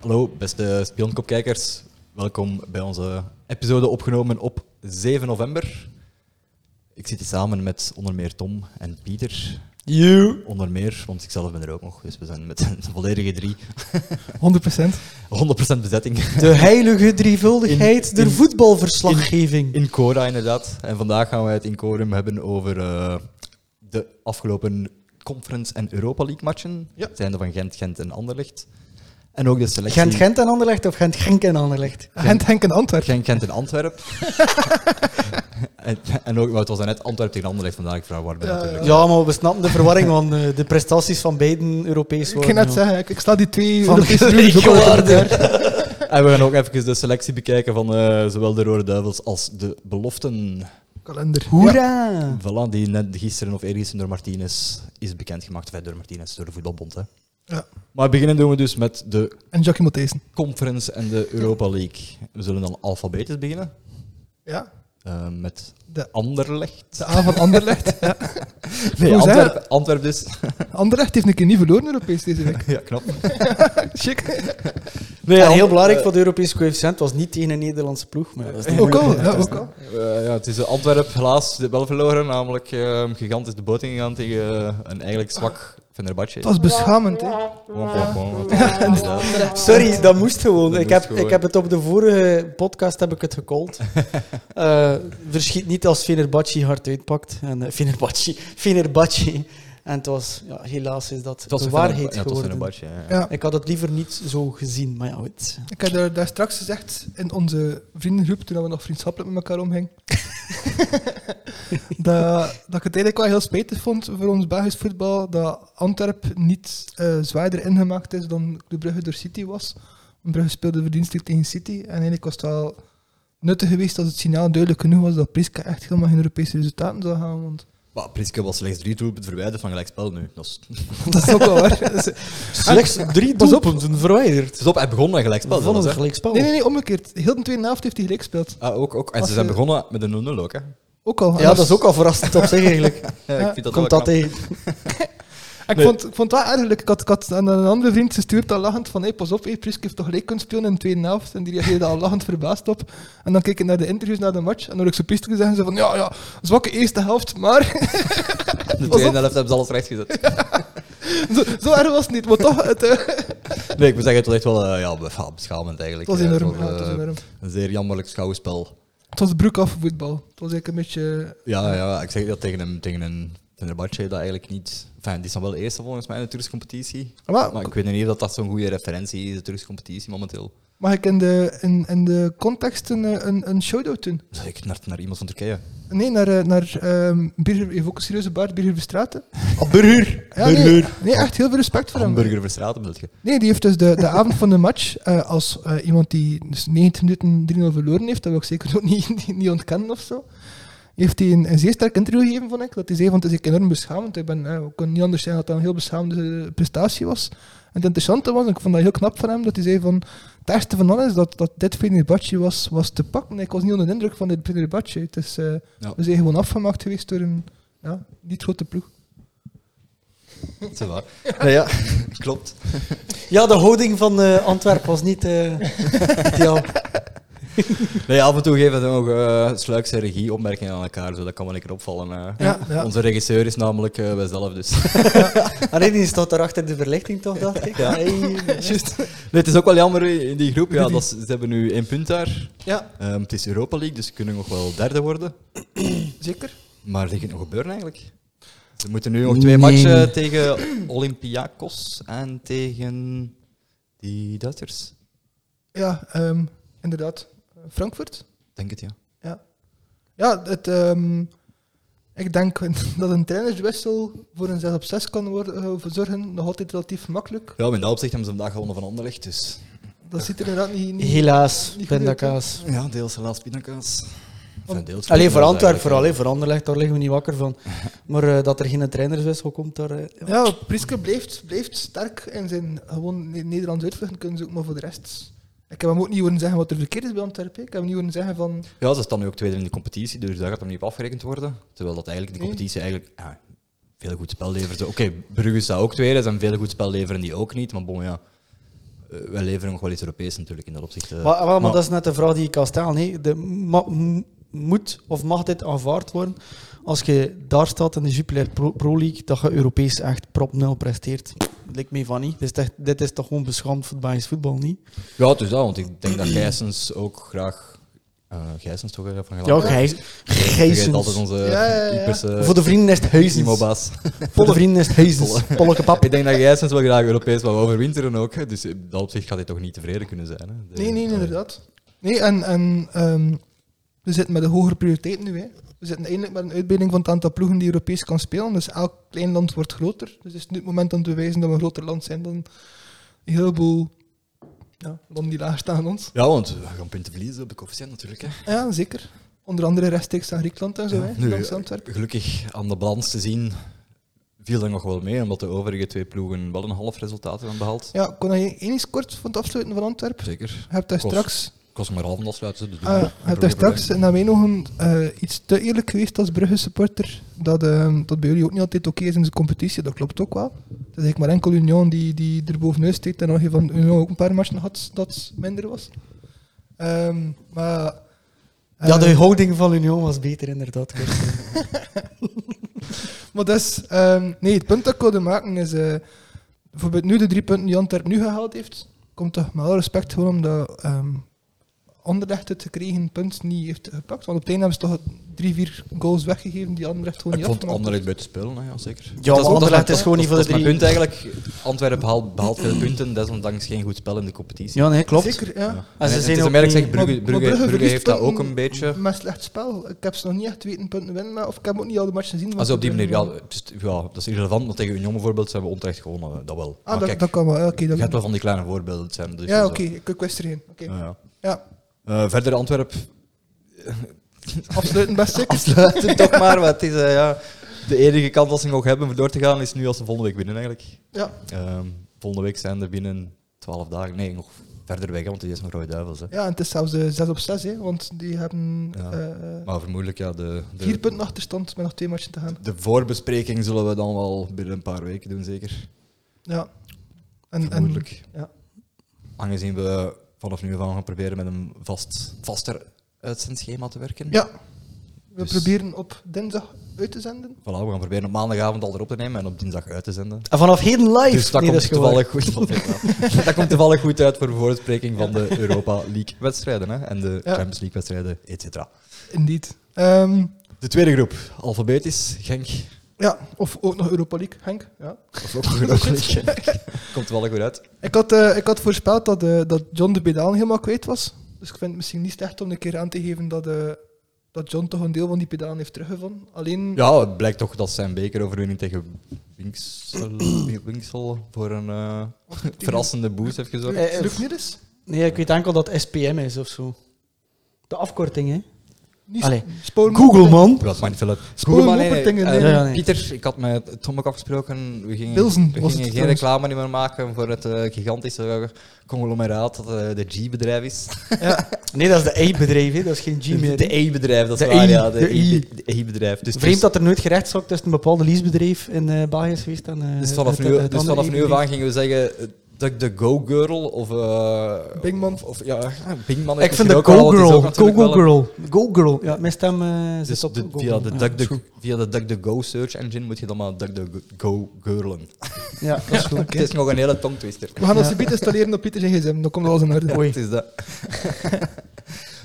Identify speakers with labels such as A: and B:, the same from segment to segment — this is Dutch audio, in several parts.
A: Hallo, beste spionkopkijkers. Welkom bij onze episode opgenomen op 7 november. Ik zit hier samen met onder meer Tom en Pieter.
B: You.
A: Onder meer, want ikzelf ben er ook nog. Dus we zijn met een volledige drie.
B: 100%.
A: 100% bezetting.
B: De heilige drievuldigheid
A: In-
B: der
A: in-
B: voetbalverslaggeving.
A: In Cora inderdaad. En vandaag gaan we het in Corum hebben over eh, de afgelopen Conference en Europa League matchen.
B: Ja.
A: Zijnde van Gent, Gent en Anderlecht. En ook de selectie
C: Gent Gent en Anderlecht of Gent Genk en Anderlecht?
B: Gent, Henk en Antwerp.
A: Gent, Gent en Antwerpen. en, en ook, maar het was net Antwerpen tegen Anderlecht vandaag. Ik vraag waar ben je natuurlijk.
C: Ja, maar we snappen de verwarring, want eh, de prestaties van beiden Europees
B: Ik
C: worden.
B: ging net
C: ja.
B: zeggen, ik, ik sla die twee
C: Van
B: Europese
C: de
B: rules ook
C: week
B: altijd
C: gewaardeerd.
B: door.
A: En we gaan ook even de selectie bekijken van eh, zowel de Rode Duivels als de beloften.
B: Kalender.
C: Hoera!
A: Voilà, die net gisteren of eergisteren door Martinez is bekendgemaakt. Of, eh, door Martinez, door de voetbalbond. Hè.
B: Ja.
A: Maar beginnen doen we dus met de
B: En Jackie Matthijssen.
A: Conference en de Europa League. We zullen dan alfabetisch beginnen.
B: Ja.
A: eh, met
B: De,
A: Anderlecht.
B: de A van Anderlecht. ja.
A: Nee,
B: Hoe zei-
A: Antwerp, Antwerp dus.
B: Anderlecht heeft een keer niet verloren Europees deze week.
A: ja, knap.
B: Chic.
A: Nee,
C: en heel belangrijk voor de Europese coëfficiënt was niet tegen een Nederlandse ploeg. Maar ja, dat is niet
B: Ook al.
C: moeilijk.
B: Ja, ook al.
A: Eh, ja, het is eh, Antwerp helaas wel verloren. Namelijk eh, gigantisch de boot ingegaan tegen eh, een eigenlijk zwak Fenerbahce.
B: Het was beschamend. Hè.
A: Womp, womp, womp. Inderdaad.
C: Sorry, dat moest gewoon.
A: Dat
C: ik,
A: moest
C: heb,
A: gewoon.
C: ik heb het op de vorige podcast heb ik het gecallt. Eh, verschiet niet als Fenerbahce hard uitpakt. En, eh, Fenerbahce, Fenerbahce. En het was, ja, helaas is dat
A: Het was
C: de
A: een
C: waarheid
A: Fenerba- ja, het was
C: geworden.
A: Fenerbahce, ja, ja.
B: Ja.
C: Ik had het liever niet zo gezien, maar ja, goed.
B: Ik heb daar, daar straks gezegd in onze vriendengroep, toen we nog vriendschappelijk met elkaar omgingen, dat, dat ik het eigenlijk wel heel spijtig vond voor ons Belgisch voetbal dat Antwerp niet eh, zwaarder ingemaakt is dan de Brugge door City was. Want Brugge speelde verdienstelijk tegen City en eigenlijk was het wel nuttig geweest als het signaal duidelijk genoeg was dat Priska echt helemaal geen Europese resultaten zou gaan. Want
A: Maar Priske was slechts drie doelpunten verwijderd van gelijkspel nu. Dat is-
B: dat is ook wel waar. Dat is-
C: Slechts drie
B: Pas op.
C: doelpunten verwijderd.
A: Dus op, hij begon met gelijkspel.
C: We vonden
A: zelfs,
C: het
A: hè.
C: gelijk spel.
B: Nee, nee, nee, omgekeerd. Heel de tweede helft heeft hij gelijk gespeeld.
A: Ah, ook, ook. En
B: Als
A: ze zijn
B: je-
A: begonnen met een 0-0 ook. Hè.
B: Ook al. En
C: Ja, dat is ook al verrassend op zich eigenlijk.
A: Ja,
B: Ja,
A: ik vind dat wel
C: Komt dat
A: knap.
C: tegen?
B: Ik,
A: Nee.
B: vond, ik vond het wel erg. Ik had, ik had aan een andere vriend gestuurd al lachend van hey, pas op, hey, Priske heeft toch gelijk kunnen spelen in de tweede helft. En die reageerde al lachend verbaasd op. En dan keek ik naar de interviews na de match. En dan ik zo Priske zeggen ze van ja, ja, zwakke eerste helft, maar
A: De tweede helft hebben ze alles recht gezet.
B: zo, zo erg was het niet. Maar toch, het, eh,
A: Nee, ik moet zeggen, het was echt wel eh, ja, be- ja, beschamend
B: het
A: eigenlijk.
B: was
A: Eh,
B: enorm.
A: was,
B: ja, het was
A: eh,
B: enorm.
A: een zeer jammerlijk schouwspel.
B: Het was broek af voetbal. Het was eigenlijk een beetje...
A: Ja, ja, ik zeg dat tegen hem, tegen een Fenerbahce, dat eigenlijk niet... Enfin, die is dan wel eerste volgens mij in de Turkse competitie.
B: eh, Maar,
A: Maar ik weet niet of dat, dat zo'n goede referentie is, de Turkse competitie momenteel.
B: mag ik in de, in, in de context een, eh, een, een shout-out doen?
A: Zeg ik naar, naar iemand van Turkije.
B: Nee, naar, eh, naar ehm Birger, heeft ook een serieuze baard, Birger Bestraten.
C: Burger.
B: Ja, nee, nee, echt heel veel respect voor hem.
A: Hamburger Verstraten bedoel je?
B: Nee, die heeft dus de, de avond van de match, eh, als eh, iemand die dus 90 minuten 3-0 verloren heeft, dat wil ik zeker ook niet, niet, niet ontkennen of zo, heeft hij een, een zeer sterk interview gegeven, vond ik. Dat hij zei, van het is enorm beschamend. Ik ben, eh, ik kon niet anders zijn dat dat een heel beschamende eh, prestatie was. En het interessante was, en ik vond dat heel knap van hem, dat hij zei van, het ergste van alles, dat, dat dit Fenerbahce was, was te pakken. Ik was niet onder de indruk van dit Fenerbahce. Het is, eh,
A: Ja.
B: We zijn gewoon afgemaakt geweest door een ja, niet grote ploeg.
A: Dat is waar. Nee, ja, klopt.
C: Ja, de houding van eh, Antwerpen was niet eh, ideaal.
A: Nee, af en toe geven ze nog eh sluikse regieopmerkingen aan elkaar, zo, dat kan wel een keer opvallen. eh.
B: Ja, ja.
A: Onze regisseur is namelijk eh wijzelf, dus...
C: Alleen die staat daar achter de verlichting toch, dacht ik.
A: Ja.
C: Hey.
A: nee, het is ook wel jammer in die groep. Ja, dat, ze ze hebben nu één punt daar.
B: Ja,
A: Ehm, het is Europa League, dus ze kunnen nog wel derde worden.
B: zeker.
A: Maar ligt het nog gebeuren eigenlijk? Ze moeten nu nog twee
C: Nee.
A: matchen tegen Olympiakos en tegen die Duitsers.
B: Ja, ehm, inderdaad. Frankfurt?
A: Denk het ja.
B: Ja. Ja, het, ehm, ik denk dat een trainerswissel voor een 6 op 6 kan worden, eh, voor zorgen. Nog altijd relatief makkelijk.
A: Ja, maar in dat opzicht hebben ze vandaag gewonnen van Anderlecht, dus...
B: Dat ziet er inderdaad niet... niet
C: Helaas,
B: Niet goed
C: pindakaas.
A: Ja, deels helaas pindakaas. Enfin, deels
C: Alleen voor
A: pindakaas
C: Antwerpen
A: eigenlijk,
C: vooral,
A: ja.
C: hè. voor Anderlecht, daar liggen we niet wakker van. Maar eh, dat er geen trainerswissel komt, daar... eh, ja.
B: ja, Priske blijft, blijft sterk in zijn gewoon Ne- Nederlands uitvluchten kunnen zoeken, maar voor de rest... Ik heb hem ook niet horen zeggen wat er verkeerd is bij Antwerpen. Ik heb hem niet horen zeggen van...
A: Ja, ze staan nu ook tweede in de competitie, dus daar gaat hem niet op afgerekend worden. Terwijl dat eigenlijk de
B: Nee.
A: competitie eigenlijk ja, veel goed spel levert. Oké, Brugge staat ook tweede, er zijn veel goed spel leveren die ook niet, maar bon, ja. eh, wij leveren nog wel iets Europees natuurlijk in dat opzicht. eh.
C: Maar, ah, wel, maar
A: maar-
C: dat is net de vraag die ik kan stellen. hè. De, ma- m- moet of mag dit aanvaard worden als je daar staat in de Jupiler Pro, Pro League, dat je Europees echt prop nul presteert? Lijkt mij van niet. Dit is, echt- dit is toch gewoon beschaamd voor het Belgisch voetbal, niet?
A: Ja, het is dat, want ik denk dat Gijsens ook graag. eh Gijsens toch even van
C: Ja,
A: gelaten.
C: Gijs,
A: Vergeet altijd
C: Gijsens.
A: onze
B: Ja, ja, ja.
A: Ypres,
C: Voor de vrienden is het
A: eh,
C: Huizens.
A: Timo-baas.
C: Voor de vrienden is het Huizens. Polleke pap.
A: Ik denk dat Gijsens wel graag Europees wil overwinteren ook. Dus in dat opzicht gaat hij toch niet tevreden kunnen zijn. Hè? Eh, De-
B: Nee, nee, inderdaad. Nee, en, en ehm, we zitten met een hogere prioriteit nu. Hè. We zitten eindelijk met een uitbreiding van het aantal ploegen die Europees kan spelen. Dus elk klein land wordt groter. Dus het is nu het moment om te wijzen dat we een groter land zijn dan een heleboel ja, landen die lager staan dan ons.
A: Ja, want we gaan punten verliezen op de coëfficiënt natuurlijk. Hè.
B: Ja, zeker. Onder andere rechtstreeks aan Griekenland en zo, hè,
A: Nu,
B: langs Antwerpen.
A: gelukkig aan de balans te zien viel dat nog wel mee, omdat de overige twee ploegen wel een half resultaat hebben behaald.
B: Ja, kon je één iets kort van het afsluiten van Antwerpen?
A: Zeker.
B: Je hebt daar
A: Kost.
B: straks,
A: Ik was maar half aan het afsluiten. Dus doe
B: eh,
A: maar.
B: je hebt daar
A: Doe maar.
B: straks naar mijn ogen eh, iets te eerlijk geweest als Brugge supporter. Dat, eh, dat bij jullie ook niet altijd oké is in de competitie, dat klopt ook wel. Het is eigenlijk maar enkel Union die, die er bovenuit steekt en nog een van Union ook een paar matchen had dat minder was. Ehm, maar, eh,
C: Ja, de houding van Union was beter, inderdaad.
B: Maar dus, ehm, nee, het punt dat ik wilde maken is, eh, bijvoorbeeld nu de drie punten die Antwerpen nu gehaald heeft, komt toch met alle respect gewoon omdat ehm Anderlecht het gekregen punt niet heeft gepakt. Want op het einde hebben ze toch drie, vier goals weggegeven die Anderlecht gewoon
A: Ik
B: niet
A: vond
B: afgemaakt
A: Anderlecht buiten spelen, hè, ja, zeker.
C: maar Anderlecht is gewoon niet voor de
A: Het
C: drie.
A: punt eigenlijk. Antwerpen behaalt, behaalt veel punten, desondanks geen goed spel in de competitie.
C: Ja, nee, klopt.
B: Zeker, ja.
A: Ja.
C: En ze
A: het
C: zijn
A: is
C: ook
A: een merk,
C: niet-
A: zeg, Brugge,
B: Maar- maar
A: Brugge,
B: Brugge
A: Brugge heeft dat ook
B: verliest
A: een beetje.
B: Met slecht spel. Ik heb ze nog niet echt weten punten winnen, maar of ik heb ook niet al de matchen gezien. want
A: Also op die
B: ze
A: manier, ja,
B: winnen.
A: het is- ja, dat is irrelevant, want tegen Union bijvoorbeeld zijn we onterecht gewonnen, eh, dat wel.
B: Ah,
A: maar
B: dat,
A: kijk,
B: dat kan wel. ja, Oké,
A: je hebt
B: dat
A: wel van die kleine voorbeelden. het Zijn, dus
B: ja,
A: zo.
B: oké. ik, ik wist er geen. Oké.
A: Ja, ja.
B: Ja,
A: Eh, verder Antwerp.
B: afsluiten best zeker.
A: Afsluiten toch maar, want het is eh, ja, de enige kans dat ze nog hebben om door te gaan is nu als ze volgende week winnen eigenlijk.
B: Ja,
A: Ehm, volgende week zijn er binnen 12 dagen, nee, nog verder weg, hè, want het is nog Rode Duivels. Hè.
B: Ja, en het is zelfs de 6 op 6, hè, want die hebben
A: Ja.
B: eh,
A: Maar vermoedelijk, ja, de, de,
B: vier punten achterstand met nog twee matchen te gaan.
A: de voorbespreking zullen we dan wel binnen een paar weken doen, zeker.
B: Ja. En, en
A: Vermoedelijk.
B: ja.
A: Aangezien we vanaf nu van gaan proberen met een vast, vaster uitzendschema te werken.
B: ja, we
A: Dus-
B: proberen op dinsdag uit te zenden.
A: Voilà, we gaan proberen op maandagavond al erop te nemen en op dinsdag uit te zenden.
C: En vanaf heden live.
A: Dus dat,
C: Ah, Nee,
A: komt
C: is gewoon-
A: toevallig goed, dat komt toevallig goed uit voor de voorbespreking van de Europa League-wedstrijden hè, en de Champions League-wedstrijden, et cetera.
B: Indeed. Ehm,
A: De tweede groep, alfabetisch, Genk.
B: ja, of ook nog Europa League, Henk. Ja.
A: Of ook Europa League, Genk. Komt wel goed uit.
B: Ik, had, eh, ik had voorspeld dat, eh, dat John de Pedalen helemaal kwijt was. Dus ik vind het misschien niet slecht om een keer aan te geven dat, eh, dat John toch een deel van die pedalen heeft teruggevonden. Alleen,
A: Ja, het blijkt toch dat zijn bekeroverwinning tegen Winksel, Winksel voor een eh, verrassende boost heeft gezorgd.
C: Eh, eh,
B: lukt niet dus. eens.
C: Nee, ik weet enkel dat SPM is of zo. De afkorting, hè?
B: Niet
C: Allee.
A: Ja,
B: spoor-
A: het maakt niet veel uit.
B: Spoelen
A: Goed, maar nee,
B: op het ding,
A: eh,
B: nee.
C: Ja, ja, nee.
A: Pieter, ik had met Tom ook afgesproken. We gingen,
B: Wilson was
A: we
B: het
A: gingen geen
B: trouwens.
A: reclame niet meer maken voor het eh, gigantische conglomeraat dat eh, de G-bedrijf is.
C: Nee, dat is de E-bedrijf, hè? Dat is geen G meer. hè.
A: De E-bedrijf, dat is
C: De
A: waar,
C: E,
A: ja. De,
C: de
A: E-
C: E.
A: de E-bedrijf. Dus, dus,
C: Vreemd dat er nooit gerechtszaak tussen een bepaalde leasebedrijf in eh België is geweest. En, eh,
A: dus vanaf
C: het-
A: nu,
C: het
A: dus
C: andere
A: vanaf nu af
C: E-bedrijf.
A: aan gingen we zeggen eh, dat de Go-Girl of... eh,
B: Bingman.
A: Of, of- ja, ah, Bingman heeft
C: Ik vind de
A: misschien ook wel, want het is
C: Go-Girl.
A: ook natuurlijk wel een-
C: Go-Girl. Go-Girl. Ja, mijn stem eh, zit
A: Dus
C: op
A: de-
C: Go-Girl.
A: via, de
C: Ja,
A: Duck
C: dat is
A: the,
C: goed.
A: via de DuckDuckGo search engine moet je dan maar DuckDuckGo girlen.
C: Ja, dat is goed.
A: Het is nog een hele tongtwister.
B: We gaan ons
C: Ja.
B: gebied installeren op Pieter zijn gsm, dan komt alles in orde.
A: Ja, het is dat.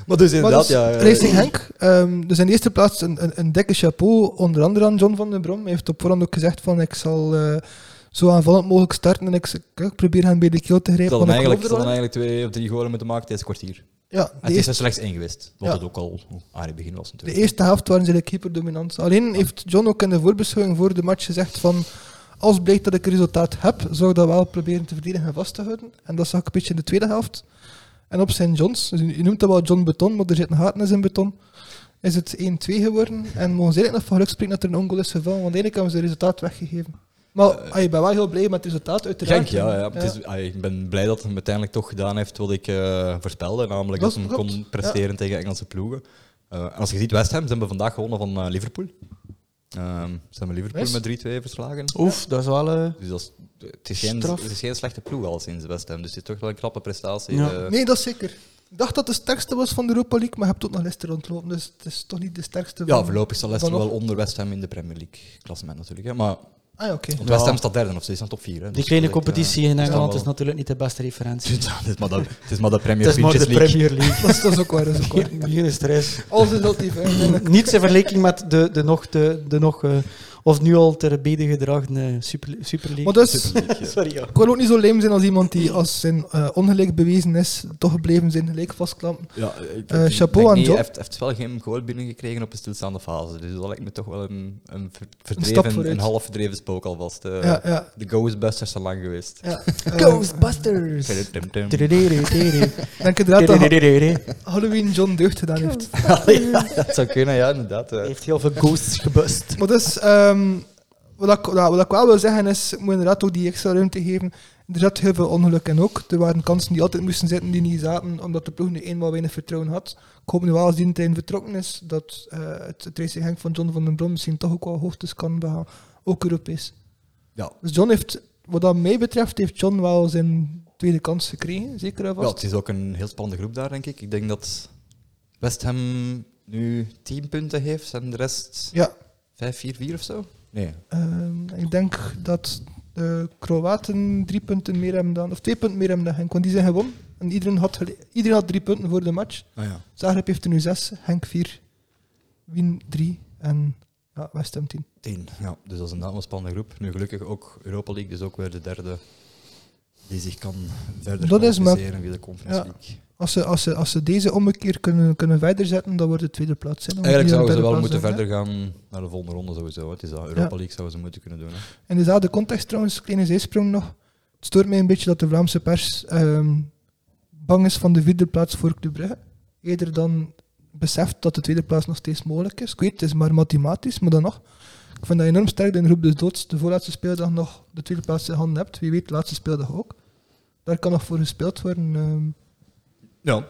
A: maar dus
B: Maar
A: inderdaad,
B: dus,
A: ja. eh,
B: Racing Henk, ehm, dus in de eerste plaats een, een, een dikke chapeau, onder andere aan John van den Brom. Hij heeft op voorhand ook gezegd van ik zal eh, zo aanvallend mogelijk starten en ik, ik probeer hem bij de keel te
A: Ze
B: grijpen.
A: hadden
B: want ik
A: eigenlijk, ze
B: geloof
A: hadden
B: er wel
A: eigenlijk twee of drie golen moeten maken tijdens het kwartier.
B: in. Ja,
A: Het
B: de,
A: is
B: eerste,
A: er slechts één geweest. Wat
B: Ja.
A: het ook al aan het begin was
B: de
A: natuurlijk.
B: eerste helft waren ze eigenlijk hyperdominant. Alleen heeft John ook in de voorbeschouwing voor de match gezegd van als blijkt dat ik een resultaat heb, zou ik dat wel proberen te verdedigen en vast te houden. En dat zag ik een beetje in de tweede helft. En op zijn Johns, dus je noemt dat wel John Beton, maar er zit een gaten in zijn beton, is het 1-2 geworden. En mogen ze eigenlijk nog van geluk spreken dat er een ongel is gevallen, want eigenlijk hebben ze het resultaat weggegeven. Maar
A: Eh,
B: ah, je bent wel heel blij met het resultaat,
A: Genk,
B: uiteraard.
A: ja. ja. Het is, ah, ik ben blij dat hij uiteindelijk toch gedaan heeft wat ik eh, voorspelde. Namelijk
B: Dat
A: dat, hij
B: klopt,
A: kon presteren tegen Engelse ploegen. Eh, en als je ziet, West Ham, ze hebben vandaag gewonnen van eh, Liverpool. Ehm, ze hebben Liverpool
B: Nice.
A: met 3-2 verslagen.
C: Oef, dat is wel... eh,
A: Dus dat is het, is geen,
C: Straf.
A: het is geen slechte ploeg al sinds West Ham, dus het is toch wel een knappe prestatie.
C: Ja.
A: eh.
B: Nee, dat is zeker. Ik dacht dat de sterkste was van de Europa League, maar je hebt ook nog Leicester rondlopen, dus het is toch niet de sterkste
A: ja,
B: van-
A: voorlopig staat Leicester
B: Van
A: wel
B: nog-
A: onder West Ham in de Premier League klassement natuurlijk. Hè. Maar
B: Ah ja, oké.
A: want
C: Ja.
A: West Ham staat derde of zo, is dan top 4.
C: Die kleine competitie in Engeland is
A: nog.
C: natuurlijk niet de beste referentie.
A: Het is maar dat- het is maar de Premier
C: Het is maar de
A: Finches League.
C: Premier League.
B: Dat, is, dat is ook waar, dat is ook waar. Mm.
C: Geen- Geen stress.
B: Alles is relatief, hè.
C: Niets in vergelijking met de, de nog, de, de nog eh, of nu al ter bede gedragen eh, super, super League. eh.
B: Maar dus,
C: Sorry, ja.
B: ik wil ook niet zo leem zijn als iemand die als zijn eh, ongelijk bewezen is, toch gebleven zijn gelijk vastklampen.
A: Ja, ik
B: Eh,
A: ik
B: chapeau
A: denk
B: aan
A: niet,
B: Job.
A: Hij heeft, heeft wel geen goal binnengekregen op de stilstaande fase. Dus dat lijkt me toch wel een, een ver-
B: stap
A: verdreven,
B: vooruit.
A: een, half verdreven spook alvast. eh.
B: Ja, ja.
A: De Ghostbusters zijn lang geweest.
B: ja.
C: Eh, Ghostbusters!
B: dus
A: Tum, tum, tum.
C: Tiri-tiri, tiri.
B: Eh, denk inderdaad dat
C: Tiri-tiri.
B: Halloween John deugd gedaan heeft.
A: Dat zou kunnen, ja, inderdaad.
C: Hij
A: eh.
C: heeft heel veel ghosts gebust.
B: Maar dus, ehm, wat, ik, ja, wat ik wel wil zeggen is, ik moet inderdaad ook die extra ruimte geven. Er zat heel veel ongeluk in ook. Er waren kansen die altijd moesten zitten, die niet zaten, omdat de ploeg nu eenmaal weinig vertrouwen had. Ik hoop nu wel als die trein vertrokken is, dat eh, het, het racing Henk van John van den Brom misschien toch ook wel hoogtes kan behalen. Ook Europees.
A: Ja.
B: Dus John heeft, wat dat mij betreft, heeft John wel zijn tweede kans gekregen, zeker en
A: Wel,
B: vast.
A: het is ook een heel spannende groep daar, denk ik. Ik denk dat West Ham nu 10 punten heeft en de rest
B: Ja,
A: 5-4-4 of zo. Nee,
B: Ehm, ik denk dat de Kroaten drie punten meer hebben dan, of twee punten meer hebben dan Henk, want die zijn gewonnen. En iedereen had, gele- iedereen had drie punten voor de match.
A: ah, ja.
B: Zagreb heeft er nu zes, Henk vier, Wien drie en ja, West Ham tien.
A: 10. Ja, dus dat is inderdaad een spannende groep. Nu gelukkig ook Europa League, dus ook weer de derde die zich kan verder
B: Dat is maar-
A: kwalificeren via de Conference
B: Ja.
A: League.
B: Als ze, als, ze, als ze deze ommekeer kunnen, kunnen verder zetten, dan wordt het tweede plaats. Zijn,
A: Eigenlijk zouden ze wel moeten verder gaan naar de volgende ronde sowieso. hè. Het is dat Europa
B: Ja.
A: League zouden ze moeten kunnen doen. Hè.
B: In dezelfde context trouwens, kleine zijsprong nog. Het stoort mij een beetje dat de Vlaamse pers ehm, bang is van de vierde plaats voor Club Brugge. Eerder dan beseft dat de tweede plaats nog steeds mogelijk is. Ik weet, het is maar mathematisch, maar dan nog. Ik vind dat enorm sterk dat je in groep dus doods de voorlaatste speeldag nog de tweede plaats in handen hebt. Wie weet, de laatste speeldag ook. Daar kan nog voor gespeeld worden. ehm.
A: Ja.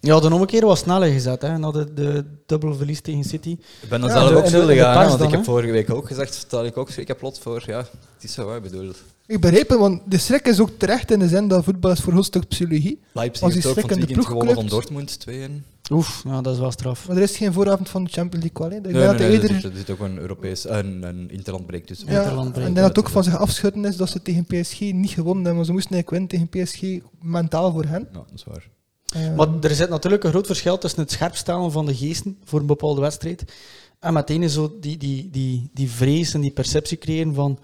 C: Ja, de ommekeer was sneller gezet, hè, na de, de dubbel verlies tegen City.
A: Ik ben dan
C: Ja,
A: zelf
C: de-
A: ook
C: en de-
A: schuldig
C: en de
A: aan,
C: pers
A: hè, want
C: dan,
A: ik heb
C: hè?
A: vorige week ook gezegd, dat ik ook schrik heb lot voor. Ja, het is zo, hè, ik bedoel.
B: Ik begrijp het, want de schrik is ook terecht in de zin dat voetbal is voor een groot stuk psychologie.
A: Leipzig
B: Als die
A: heeft ook van
B: schrik
A: het
B: in de
A: weekend
B: ploeg
A: gewonnen van Dortmund,
B: kleurt.
A: 2-1.
C: Oef, ja, dat is wel straf.
B: Maar er is geen vooravond van de Champions League wel. hè. Ik denk
A: Nee, nee,
B: dat
A: nee,
B: er eerder
A: er, zit, er zit ook een Europees, eh, een, een interland break tussen.
B: Ja,
C: Interland
B: en ik
C: breekt,
B: denk dat het ook van zich afschudden is dat ze tegen PSG niet gewonnen hebben. Maar ze moesten eigenlijk winnen tegen PSG, mentaal voor hen.
A: Ja, dat is waar.
B: Eh,
C: Maar er zit natuurlijk een groot verschil tussen het scherpstellen van de geesten voor een bepaalde wedstrijd en meteen zo die, die, die, die vrees en die perceptie creëren van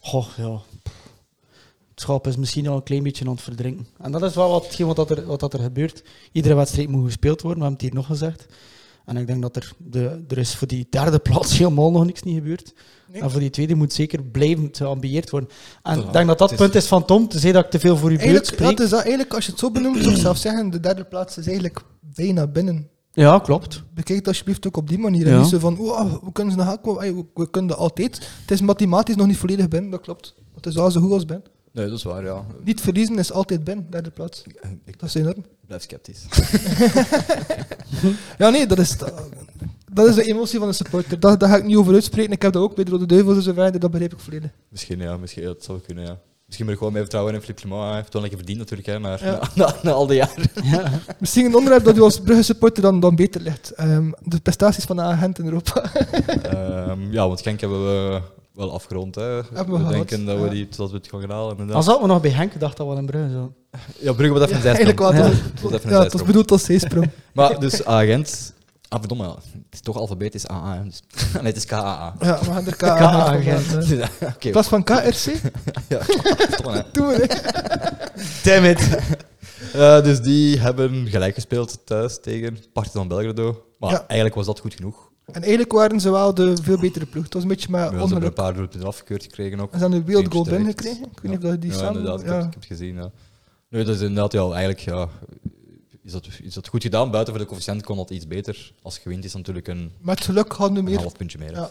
C: goh, ja, pff, het schap is misschien al een klein beetje aan het verdrinken. En dat is wel wat, hetgeen wat, dat er, wat dat er gebeurt. Iedere wedstrijd moet gespeeld worden, we hebben het hier nog gezegd. En ik denk dat er, de, er is voor die derde plaats helemaal nog niks niet gebeurd.
B: Nee.
C: En voor die tweede moet zeker blijvend geambieerd worden. En
A: Voilà.
C: ik denk dat dat
A: Het is-
C: punt is van Tom, te zeggen dat ik te veel voor uw beurt
B: eigenlijk, ja,
C: spreek.
B: het is dat, eigenlijk, als je het zo benoemt, zou ik zelf zeggen, de derde plaats is eigenlijk bijna binnen.
C: Ja, klopt.
B: Bekijk het alsjeblieft ook op die manier. En
C: Ja.
B: niet zo van, "Wow, we kunnen ze nog aankomen. Ey, We, we kunnen dat altijd. Het is mathematisch nog niet volledig binnen, dat klopt. Het is wel zo goed als binnen.
A: Nee, dat is waar, ja.
B: Niet verliezen is altijd binnen, derde plaats.
A: Ik
B: Dat is enorm.
A: blijf sceptisch.
B: Ja, nee, dat is, dat is de emotie van een supporter. Daar, daar ga ik niet over uitspreken. Ik heb dat ook bij de Rode Duivels en zo verder. Dat begrijp ik volledig.
A: Misschien, ja, misschien ja, dat zou kunnen, ja. Misschien moet ik gewoon meer vertrouwen in Flip Clement. Hij heeft wel een keer verdiend natuurlijk, hè, maar
B: Ja.
A: na, na- na al die jaren.
B: Misschien een onderwerp dat u als Brugge supporter dan, dan beter ligt. Ehm, de prestaties van de agent in Europa.
A: Ehm, ja, want Genk hebben we wel afgerond, hè.
B: we
A: we
B: gehad,
A: denken dat we,
B: ja.
A: die, dat we het gaan gaan halen,
C: Dan
A: inderdaad.
C: zaten we nog bij Henk, dacht dat wel in Brugge zo.
A: Ja, Brugge wat even een zijsprong.
B: Eigenlijk wel.
C: Ja.
A: Het was
B: Ja,
A: even een
B: ja, het was
A: zijsprong.
B: bedoeld als zeesprong.
A: Maar dus agent. Ah, verdomme, ja. het is toch alfabetisch AA. hè, Dus. Nee, het is KAA.
B: Ja, we gaan er K
C: K-agent.
B: aan gaan vandaan, hè.
A: Oké,
B: In plaats van KRC,
A: ja, verdomme, hè.
B: doen we het.
C: Damn it.
A: Eh, dus die hebben gelijk gespeeld thuis tegen Partizan Belgrado. Maar
B: Ja.
A: eigenlijk was dat goed genoeg.
B: En eigenlijk waren ze wel de veel betere ploeg. Het was een beetje
A: We
B: maar
A: hebben een
B: ongeluk.
A: paar doelpunten afgekeurd gekregen ook.
B: En ze hebben een wild goal
A: Teamsterk.
B: binnengekregen. Ik weet niet of dat je die
A: ja,
B: samen...
A: inderdaad, ik heb-
B: ja.
A: ik, heb, het gezien. Ja. Nee, dat is inderdaad, ja, eigenlijk ja, is, dat, is dat goed gedaan. Buiten voor de coëfficiënt kon dat iets beter. Als gewint is natuurlijk een,
B: Met geluk hadden we
A: een
B: meer...
A: half puntje meer.
B: Ja,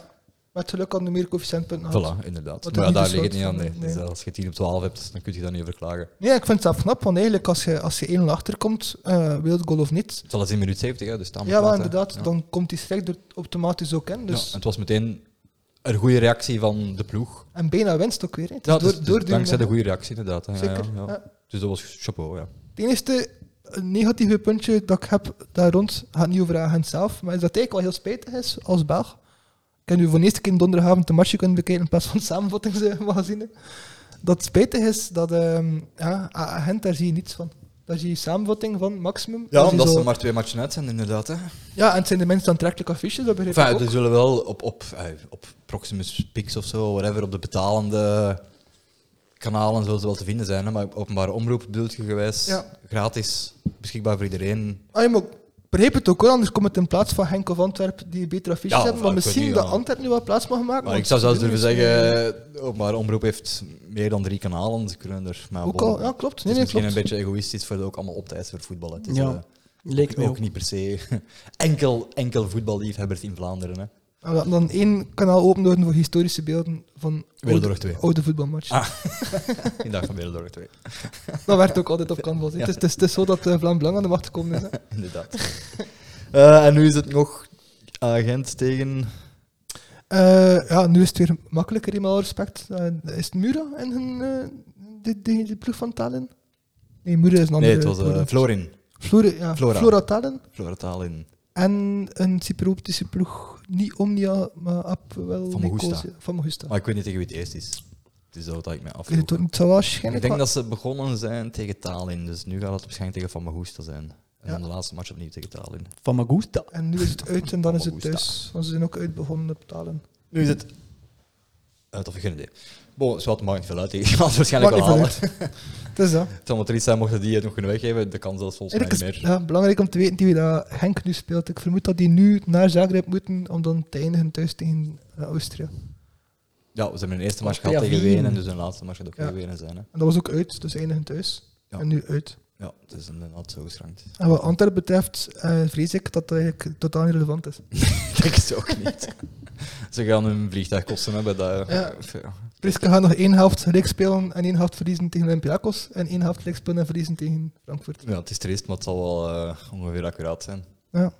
B: met geluk hadden we meer coëfficiëntpunten gehad.
A: Voilà, inderdaad.
B: Wat
A: Maar ja,
B: het
A: daar
B: niet
A: ligt het niet aan.
B: besloot
A: Nee.
B: van, nee.
A: Dus als je 10 op 12 hebt, dan kun je dat niet verklagen.
B: Nee, ik vind het zelf knap, want eigenlijk als je, als je 1-0 achterkomt, eh wild goal of niet...
A: Het zal eens in minuut 70, hè, dus daar moet
B: Ja, wel
A: het laten.
B: inderdaad,
A: Ja.
B: dan komt die strek er automatisch ook in.
A: Ja,
B: Dus
A: en het was meteen een goede reactie van de ploeg.
B: En bijna winst ook weer. Hè. Het is
A: Ja, dus-
B: door,
A: dus
B: doorduwen,
A: dankzij
B: hè.
A: de goede reactie, inderdaad. hè. Ja,
B: Zeker.
A: ja, ja.
B: ja.
A: Dus dat was chapeau, ja.
B: Het enige negatieve puntje dat ik heb daar rond, gaat niet over hen zelf, maar is dat het eigenlijk wel heel spijtig is als Belg. Ik heb nu voor de eerste keer donderdagavond een matchje kunnen bekijken in plaats van samenvattingsmagazine. Dat het spijtig is dat ehm ja, A- Gent, daar zie je niets van. Daar zie je samenvatting van maximum. Daar
A: Ja,
B: zie je
A: omdat
B: zo-
A: ze maar twee matchen uit zijn, inderdaad. Hè.
B: ja, en het zijn de mensen aantrekkelijke affiches, dat begrijp ik
A: Enfin, dus-
B: ook.
A: er zullen wel op, op, eh, op Proximus Pix of zo, whatever, op de betalende kanalen zullen ze wel te vinden zijn. Hè? Maar openbare omroep bedoelt je gewijs,
B: Ja.
A: gratis, beschikbaar voor iedereen.
B: Ah, ja, maar ik begrijp het ook hoor, anders komt het in plaats van Henk of Antwerpen die betere affiches
A: Ja,
B: hebben.
A: maar
B: Maar
A: ik
B: misschien
A: weet niet,
B: dat
A: ja.
B: Antwerpen nu wel plaats mag maken.
A: Maar
B: want
A: ik zou zelfs
B: ze doen
A: durven
B: misschien-
A: zeggen, eh, openbare omroep heeft meer dan drie kanalen. Ze kunnen er maar
B: Ook
A: bon,
B: al, ja, klopt. Nee,
A: het is
B: nee,
A: misschien
B: klopt.
A: een beetje egoïstisch voor de ook allemaal op te eisen voor voetbal. hè. Het is
C: Ja,
A: eh,
C: Leek
A: ook,
C: mij ook.
A: niet per se enkel, enkel voetballiefhebbers in Vlaanderen. Hè.
B: En we hadden Nou, dan één kanaal open doen voor historische beelden van
A: Wereldoorlog
B: oude,
A: 2.
B: oude voetbalmatchen.
A: Ah. In dag van Wereldoorlog 2,
B: Dat werd ook altijd op canvas. hè.
A: Ja.
B: Het, is, het, is, het is zo dat eh Vlaam Belang aan de macht gekomen is. hè.
A: inderdaad. Eh, en nu is het nog agent tegen...
B: Eh, ja, nu is het weer makkelijker in mijn respect. Eh, is het Mura en hun, eh, de, de, de ploeg van Tallinn? Nee, Mura is een andere
A: Nee, het was eh,
B: ploeg.
A: Florin.
B: Flora, ja,
A: Flora.
B: Flora. Tallinn.
A: Flora Tallinn.
B: En een Cypriotische ploeg, niet Omnia, maar Ap, wel
A: Van Mogusta. Ah,
B: Nicosia- Van Mogusta.
A: Maar ik weet niet tegen wie het eerst is. Het is dat dat ik mij
B: Ik weet het ook
A: afvroeg.
B: niet, het zou
A: Ik
B: waarschijnlijk
A: denk
B: wel-
A: dat ze begonnen zijn tegen Tallinn, dus nu gaat het waarschijnlijk tegen Van Magoesta zijn. En
B: Ja.
A: dan de laatste match opnieuw tegen Tallinn.
C: Van Magusta.
B: En nu is het uit en dan
A: Van
B: is het
A: Mogusta.
B: thuis. Want ze zijn ook uit begonnen op Tallinn.
A: Nu is het... Uh, Eh, dat heb ik geen idee. Bon, zwart, maakt niet veel uit. Ik ga het waarschijnlijk wel
B: Maakt
A: halen.
B: niet veel uit. Het is dat.
A: Het zou maar triest zijn mochten die het nog kunnen weggeven. De kans zelfs volgens mij niet
B: Eigenlijk is
A: meer.
B: het ja, belangrijk om te weten wie dat Henk nu speelt. Ik vermoed dat die nu naar Zagreb moeten om dan te eindigen thuis tegen eh, Austria.
A: Ja, we hebben hun eerste match
C: Ja,
A: gehad tegen
C: Wien.
A: Wenen, dus hun laatste match gaat ook
B: Ja.
A: tegen Wenen zijn. Hè.
B: En dat was ook uit, dus eindigen thuis.
A: Ja.
B: En nu uit.
A: Ja, het is inderdaad zo geschrankt.
B: En wat Antwerpen betreft, eh, vrees ik dat dat eigenlijk totaal niet relevant is.
A: Ik denk het ook niet. Ze gaan hun vliegtuigkosten hebben. Dat,
B: Ja.
A: ja.
B: Priska gaat nog één helft gelijk spelen en één helft verliezen tegen Olympiakos. En één helft gelijk spelen en verliezen tegen Frankfurt.
A: Ja, het is triest, maar het zal wel eh, ongeveer accuraat zijn.
B: Ja.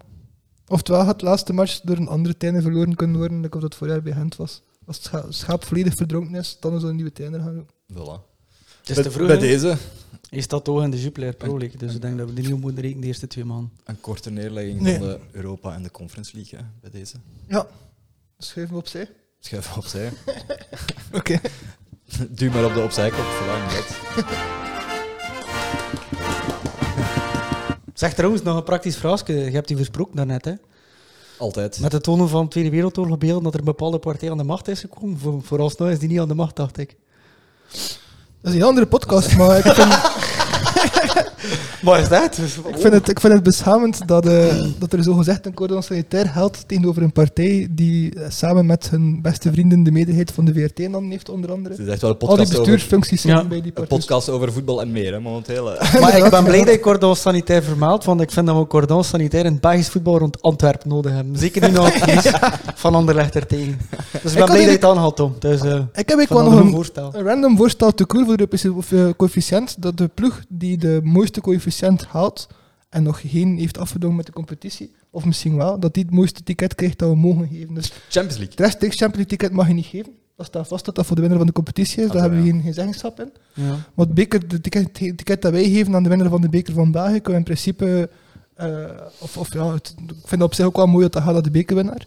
B: Oftewel had het laatste match door een andere trainer verloren kunnen worden, like of dat vorig jaar bij Gent was. Als het scha- schaap volledig verdronken is, dan is er een nieuwe trainer gaan doen.
A: Voilà.
C: Het is
A: Bij-
C: te vroeg.
A: Bij
C: hè.
A: deze
C: Is dat toch in de Jupiler Pro League? Dus ik denk dat we er niet op moeten rekenen de eerste twee man.
A: een korte neerlegging
B: Nee.
A: van de Europa en de Conference League. Hè, bij deze.
B: Ja, schuif hem opzij.
A: Schuif opzij.
B: Oké.
A: Duw maar op de opzijkop. Voilà, inderdaad.
C: Zeg trouwens nog een praktisch vraagje. Je hebt die versproken daarnet. Hè?
A: Altijd.
C: Met het tonen van de Tweede Wereldoorlog beelden dat er een bepaalde partij aan de macht is gekomen. Voor, vooralsnog is die niet aan de macht, dacht ik.
B: Dat is een andere podcast, maar ik vind,
C: Maar is dat?
B: ik vind, het, ik vind het beschamend dat, eh, dat er zogezegd een cordon sanitair geldt tegenover een partij die eh, samen met hun beste vrienden de meerderheid van de VRT dan heeft, onder andere.
A: Het is echt wel een
B: Al die
A: podcast, over,
B: bestuursfuncties zijn
C: Ja,
B: bij die
A: een
B: partij.
A: podcast over voetbal en meer, hè, momenteel. eh. hè.
C: Maar ik ben blij dat je cordon sanitair vermeldt, want ik vind dat we cordon sanitair in het Belgisch voetbal rond Antwerpen nodig hebben. Zeker nu nog het nieuws van Anderlecht ertegen. Dus ik ben
B: had
C: blij dat je
B: hier-
C: het aanhaalt, Tom. Dus, eh
B: Ik heb ik
C: van
B: wel nog
C: een
B: een,
C: voorstel.
B: een random voorstel te koer voor de Europese of, eh, coëfficiënt, dat de ploeg die de mooiste coëfficiënt haalt en nog geen heeft afgedwongen met de competitie, of misschien wel, dat die het mooiste ticket krijgt dat we mogen geven. Dus
A: Champions League.
B: Het rechtstreeks Champions League ticket mag je niet geven. Dat staat vast dat dat voor de winnaar van de competitie is.
A: Ah,
B: Daar hebben we
A: ja.
B: geen, geen zeggenschap in.
C: Ja.
B: Maar het beker, de ticket, het ticket dat wij geven aan de winnaar van de beker van België, kunnen we in principe... eh, of, of ja, het- ik vind het op zich ook wel mooi dat dat gaat naar de bekerwinnaar.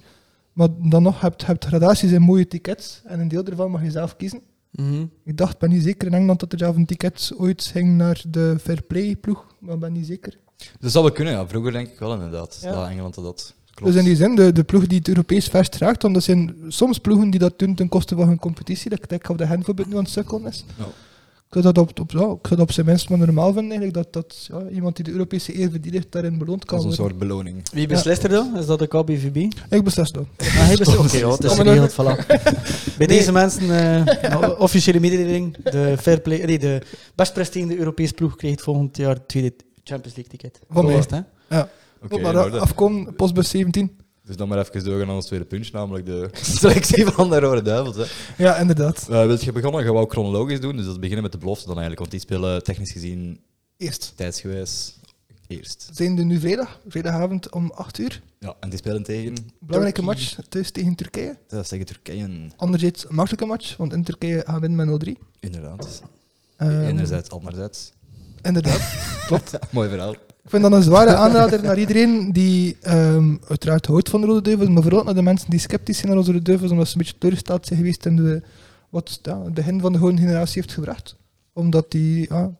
B: Maar dan nog, hebt hebt gradaties en mooie tickets. En een deel daarvan mag je zelf kiezen.
C: Mhm.
B: Ik dacht, ik ben niet zeker in Engeland dat er zelf een ticket ooit ging naar de Fair Play ploeg. Maar ik ben niet zeker.
A: Dus dat zou wel kunnen, ja. Vroeger denk ik wel, inderdaad.
B: Ja.
A: Dat Engeland dat dat klopt.
B: Dus in die zin, de, de ploeg die het Europees verst raakt, want dat zijn soms ploegen die dat doen ten koste van hun competitie. Dat ik denk of de hen bijvoorbeeld nu aan het sukkelen is.
A: Ja.
B: Ik zou dat op, op, ja, ik zou dat op zijn minst maar normaal vinden, eigenlijk, dat, dat ja, iemand die de Europese eer verdient, daarin beloond kan
A: Als een
B: worden.
A: soort beloning.
C: Wie beslist er dan? Is dat de KBVB?
B: Ik beslis dat.
C: Ah, hij beslist. Oké, ja, het is
B: Kom maar
C: geregeld, voilà. Bij deze mensen, eh, nou, officiële mededeling, de, fair play, nee, de best presterende Europese ploeg krijgt volgend jaar het tweede Champions League ticket.
B: Van mij.
C: Dat was het, hè?
A: Oké, nou
B: Moet maar eh,
A: in orde.
B: afkomen, postbus 17.
A: Dus dan maar even doorgaan aan ons tweede puntje, namelijk de selectie van de Rode Duivels. Hè.
B: Ja, inderdaad.
A: Eh, wilt je begonnen? Gaan we ook chronologisch doen. Dus dat is beginnen met de belofte dan eigenlijk. Want die spelen technisch gezien
B: Eerst.
A: tijdsgewijs eerst.
B: Zijn er nu vrijdag, vrijdagavond om 8 uur.
A: Ja, Mm. en die spelen tegen,
B: Belangrijke
C: Turkey.
B: match thuis tegen Turkije.
A: dat is tegen Turkije,
B: Anderzijds een makkelijke match, want in Turkije gaan we winnen met 0-3.
A: inderdaad.
B: Ehm,
A: Enerzijds, anderzijds.
B: Inderdaad.
A: Mooi verhaal.
B: Ik vind dat een zware aanrader naar iedereen die ehm, uiteraard houdt van de Rode Duivels, maar vooral ook naar de mensen die sceptisch zijn naar onze Rode Duivels, omdat ze een beetje teleurgesteld zijn geweest in de, wat ja, het begin van de gewone generatie heeft gebracht. Omdat die, ja,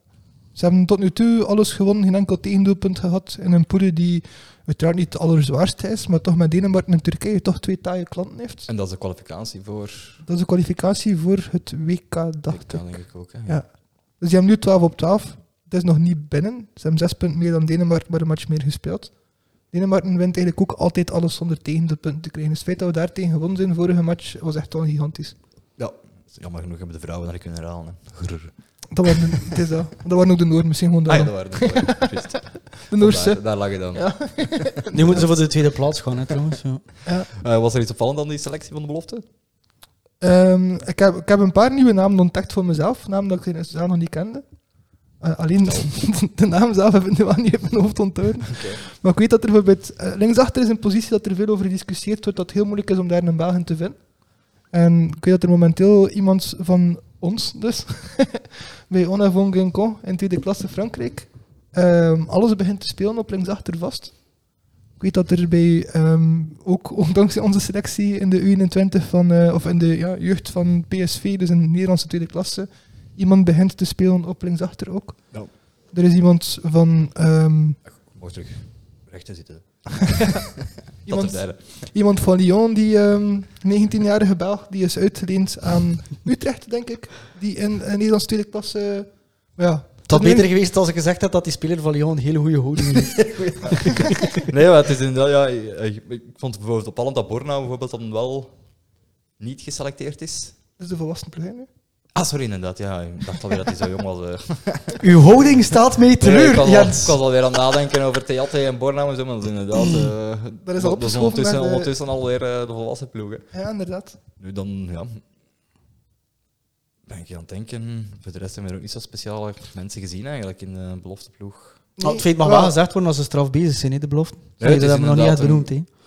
B: ze hebben tot nu toe alles gewonnen, geen enkel tegendoelpunt gehad in een poeder die uiteraard niet de allerzwaarste is, maar toch met Denemarken en Turkije toch twee taaie klanten heeft.
A: En dat is de kwalificatie voor
B: Dat is de kwalificatie voor het WK,
A: dat
B: dacht ik.
A: denk ik ook. Hè.
B: Ja. Dus die hebben nu 12 op 12. Het is nog niet binnen. Ze hebben 6 punten meer dan Denemarken, maar een match meer gespeeld. Denemarken wint eigenlijk ook altijd alles zonder tegen de punten te krijgen. Dus het feit dat we daartegen gewonnen zijn, vorige match, was echt wel gigantisch.
A: Ja. Dus Jammer genoeg hebben de vrouwen daar kunnen herhalen. Hè. Grrr.
B: Dat waren, het is dat. Dat waren ook de Noor, misschien gewoon de,
A: Ah ja, dat waren de Juist.
B: de Noorse.
A: Daar, daar lag je dan.
B: Ja.
C: Nu moeten ze voor de tweede plaats gaan, hè, trouwens. Ja.
A: Eh, was er iets opvallend aan die selectie van de belofte?
B: Ehm, ik, heb, ik heb een paar nieuwe namen ontdekt voor mezelf, namen dat ik in Sudan nog niet kende. Eh, alleen de naam zelf heb ik nu aan niet in mijn hoofd onthouden. Maar ik weet dat er bijvoorbeeld eh, linksachter is een positie dat er veel over gediscussieerd wordt, dat het heel moeilijk is om daar een Belgen te vinden. En ik weet dat er momenteel iemand van ons, dus, bij Ona van Guingamp in tweede klasse Frankrijk, ehm, alles begint te spelen op linksachter vast. Ik weet dat er bij, ehm, ook ondanks onze selectie in de U21 van, eh, of in de ja, jeugd van PSV, dus in de Nederlandse tweede klasse, iemand begint te spelen op linksachter ook.
A: Ja.
B: Er is iemand van ehm,
A: Mocht terug rechter zitten. Dat
B: Iemand-
A: is derde.
B: Iemand van Lyon, die ehm, 19-jarige Belg, die is uitgeleend aan Utrecht, denk ik. Die in, in Nederlands tweede klasse. maar ja,
C: Het
B: dat
C: had beter geweest als ik gezegd had dat die speler van Lyon een hele goede houding heeft.
A: Nee, maar het is inderdaad, ja, eh, ik ik vond bijvoorbeeld opvallend dat Borna bijvoorbeeld dan wel niet geselecteerd is.
B: is de volwassen ploeg nu.
A: Ah, sorry, inderdaad. Ja, ik dacht alweer dat hij zo jong was. eh.
C: Uw houding staat mij
A: Nee,
C: teleur,
A: ik, was al, ik
C: Jens.
A: was alweer aan het nadenken over Theatte en Borna en zo, maar dat is inderdaad... eh,
B: Dat is al opgeschoven
A: ondertussen,
B: naar de-
A: ondertussen alweer eh, de volwassen ploegen.
B: Ja, inderdaad.
A: Nu dan, ja... Ben ik aan het denken. Voor de rest hebben we er ook niet zo speciale mensen gezien eigenlijk in de belofteploeg.
C: Nou, het feit mag
B: maar-
C: wel gezegd worden als ze straf bezig zijn, hè, de belofte.
A: het
C: Nee,
A: is
C: dat hebben we nog niet
A: inderdaad
C: echt benoemd. hè.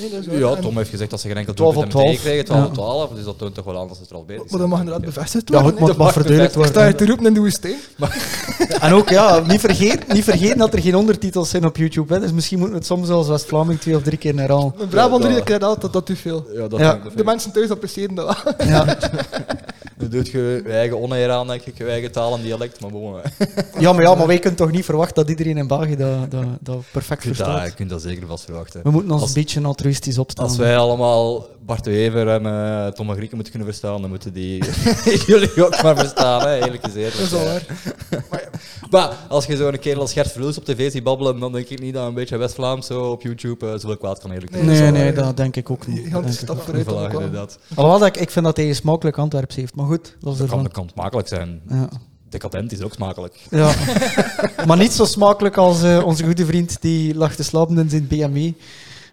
B: Nee, dat is waar.
A: Ja,
B: En-
A: Tom heeft gezegd dat ze geen enkel
C: 12
A: 12
C: op
A: op 12 meekregen, 12 op
C: Ja.
A: 12, dus dat toont toch wel aan dat ze er al bezig zijn.
B: Maar Oh, dat mag inderdaad bevestigd
C: Dat
B: worden. hè.
C: moet- moet
A: dat mag
C: maar verduidelijkt
B: Ik sta je
C: worden.
B: te woestijn. in de woestijn.
C: En ook, ja, niet vergeten, niet vergeten dat er geen ondertitels zijn op YouTube. Hè. Dus misschien moeten we het soms zelfs West-Vlaming twee of drie keer herhalen.
B: Een Brabander
A: Ja,
B: die
A: dat-
B: krijgt altijd dat te veel.
A: Ja, dat
C: Ja.
A: denk ik
B: De
A: wel.
B: mensen thuis appreciëren dat wel.
C: Ja.
A: Nu doet je je eigen oneer aan, denk ik, je eigen taal en dialect, maar bon. hè.
C: ja, maar ja, maar wij kunnen toch niet verwachten dat iedereen in België dat, dat, dat perfect
A: Je kunt dat,
C: verstaat.
A: je kunt dat zeker vast verwachten.
C: We moeten ons
A: Als-
C: een beetje altruïstisch opstellen.
A: Als wij allemaal Bart de Wever en eh Tom van Grieken moeten kunnen verstaan, dan moeten die jullie ook maar verstaan, hè. eerlijk gezegd.
C: Dus-
B: Dat is wel waar.
A: Maar als je zo'n kerel als Gert Verloes op tv ziet babbelen, dan denk ik niet dat een beetje West-Vlaams zo op YouTube eh, zoveel kwaad kan, eerlijk
B: Nee,
A: gezegd.
B: dat
C: nee,
B: is
C: nee,
B: wel-
C: dat denk ik ook niet. Denk
B: Gigantische
C: ik
B: stap
C: ook.
B: vooruit.
A: Voilà,
B: dat kwam.
A: inderdaad.
C: Alhoewel dat ik, ik vind dat hij een smakelijk Antwerps heeft. Maar goed, dat is
A: Dat kan,
C: ervan.
A: dat kan makkelijk zijn.
C: Ja.
A: Decadent is ook smakelijk.
C: Ja. maar niet zo smakelijk als eh, onze goede vriend die lag te slapen in zijn BME.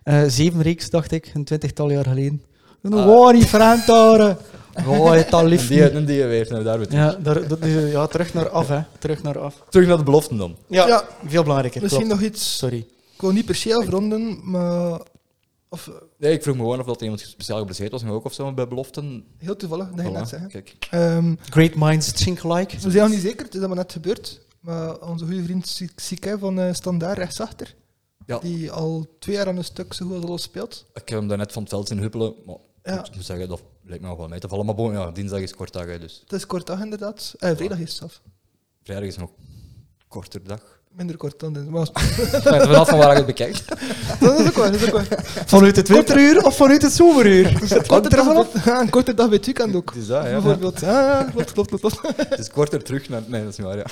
C: Eh zeven reeks, dacht ik, een twintigtal jaar geleden.
A: Ah.
C: Wow, die vriend daar. Wow, het al lief.
A: Die,
C: niet.
A: en die heeft nou daar weer terug.
C: Ja, daar, dat is, eh, ja, terug naar af, hè. Terug naar af.
A: Terug naar de beloften dan.
C: Ja,
B: Ja.
C: veel belangrijker.
B: Misschien
C: klopt.
B: nog iets.
C: Sorry.
B: Ik wil niet per se afronden, maar. Of eh,
A: Nee, ik vroeg me gewoon of dat iemand speciaal geblesseerd was, maar ook of zo bij beloften.
B: heel toevallig, dat je net
A: Voilà,
B: zeggen.
A: kijk.
B: Ehm,
C: Great minds think alike.
B: We zijn nog niet zeker, het is allemaal net gebeurd. Maar onze goede vriend Si- Sique van eh Standaard, rechtsachter,
A: Ja.
B: die al twee jaar aan een stuk zo goed als alles speelt.
A: Ik heb hem daarnet van het veld zien huppelen, maar
B: Ja.
A: ik moet zeggen, dat lijkt me nog wel mee te vallen. Maar bon, ja, dinsdag is kortdag, hè, dus
B: Het is kort dag inderdaad. Eh, vrijdag is het zelf.
A: vrijdag is nog korter dag.
B: Minder kort dan dit. Maar
A: Hangt vanaf van waar ik het bekijk.
B: dat is ook waar, dat is ook waar.
C: Vanuit het winteruur of vanuit het zomeruur? Het hangt
B: Korter
C: er vanaf.
B: dag, ja, een korte dag bij het weekend ook.
A: Het is dat, ja.
B: Bijvoorbeeld. Ja, ja, klopt, klopt, klopt, klopt.
A: Het is korter terug naar... Nee, dat is niet waar, ja.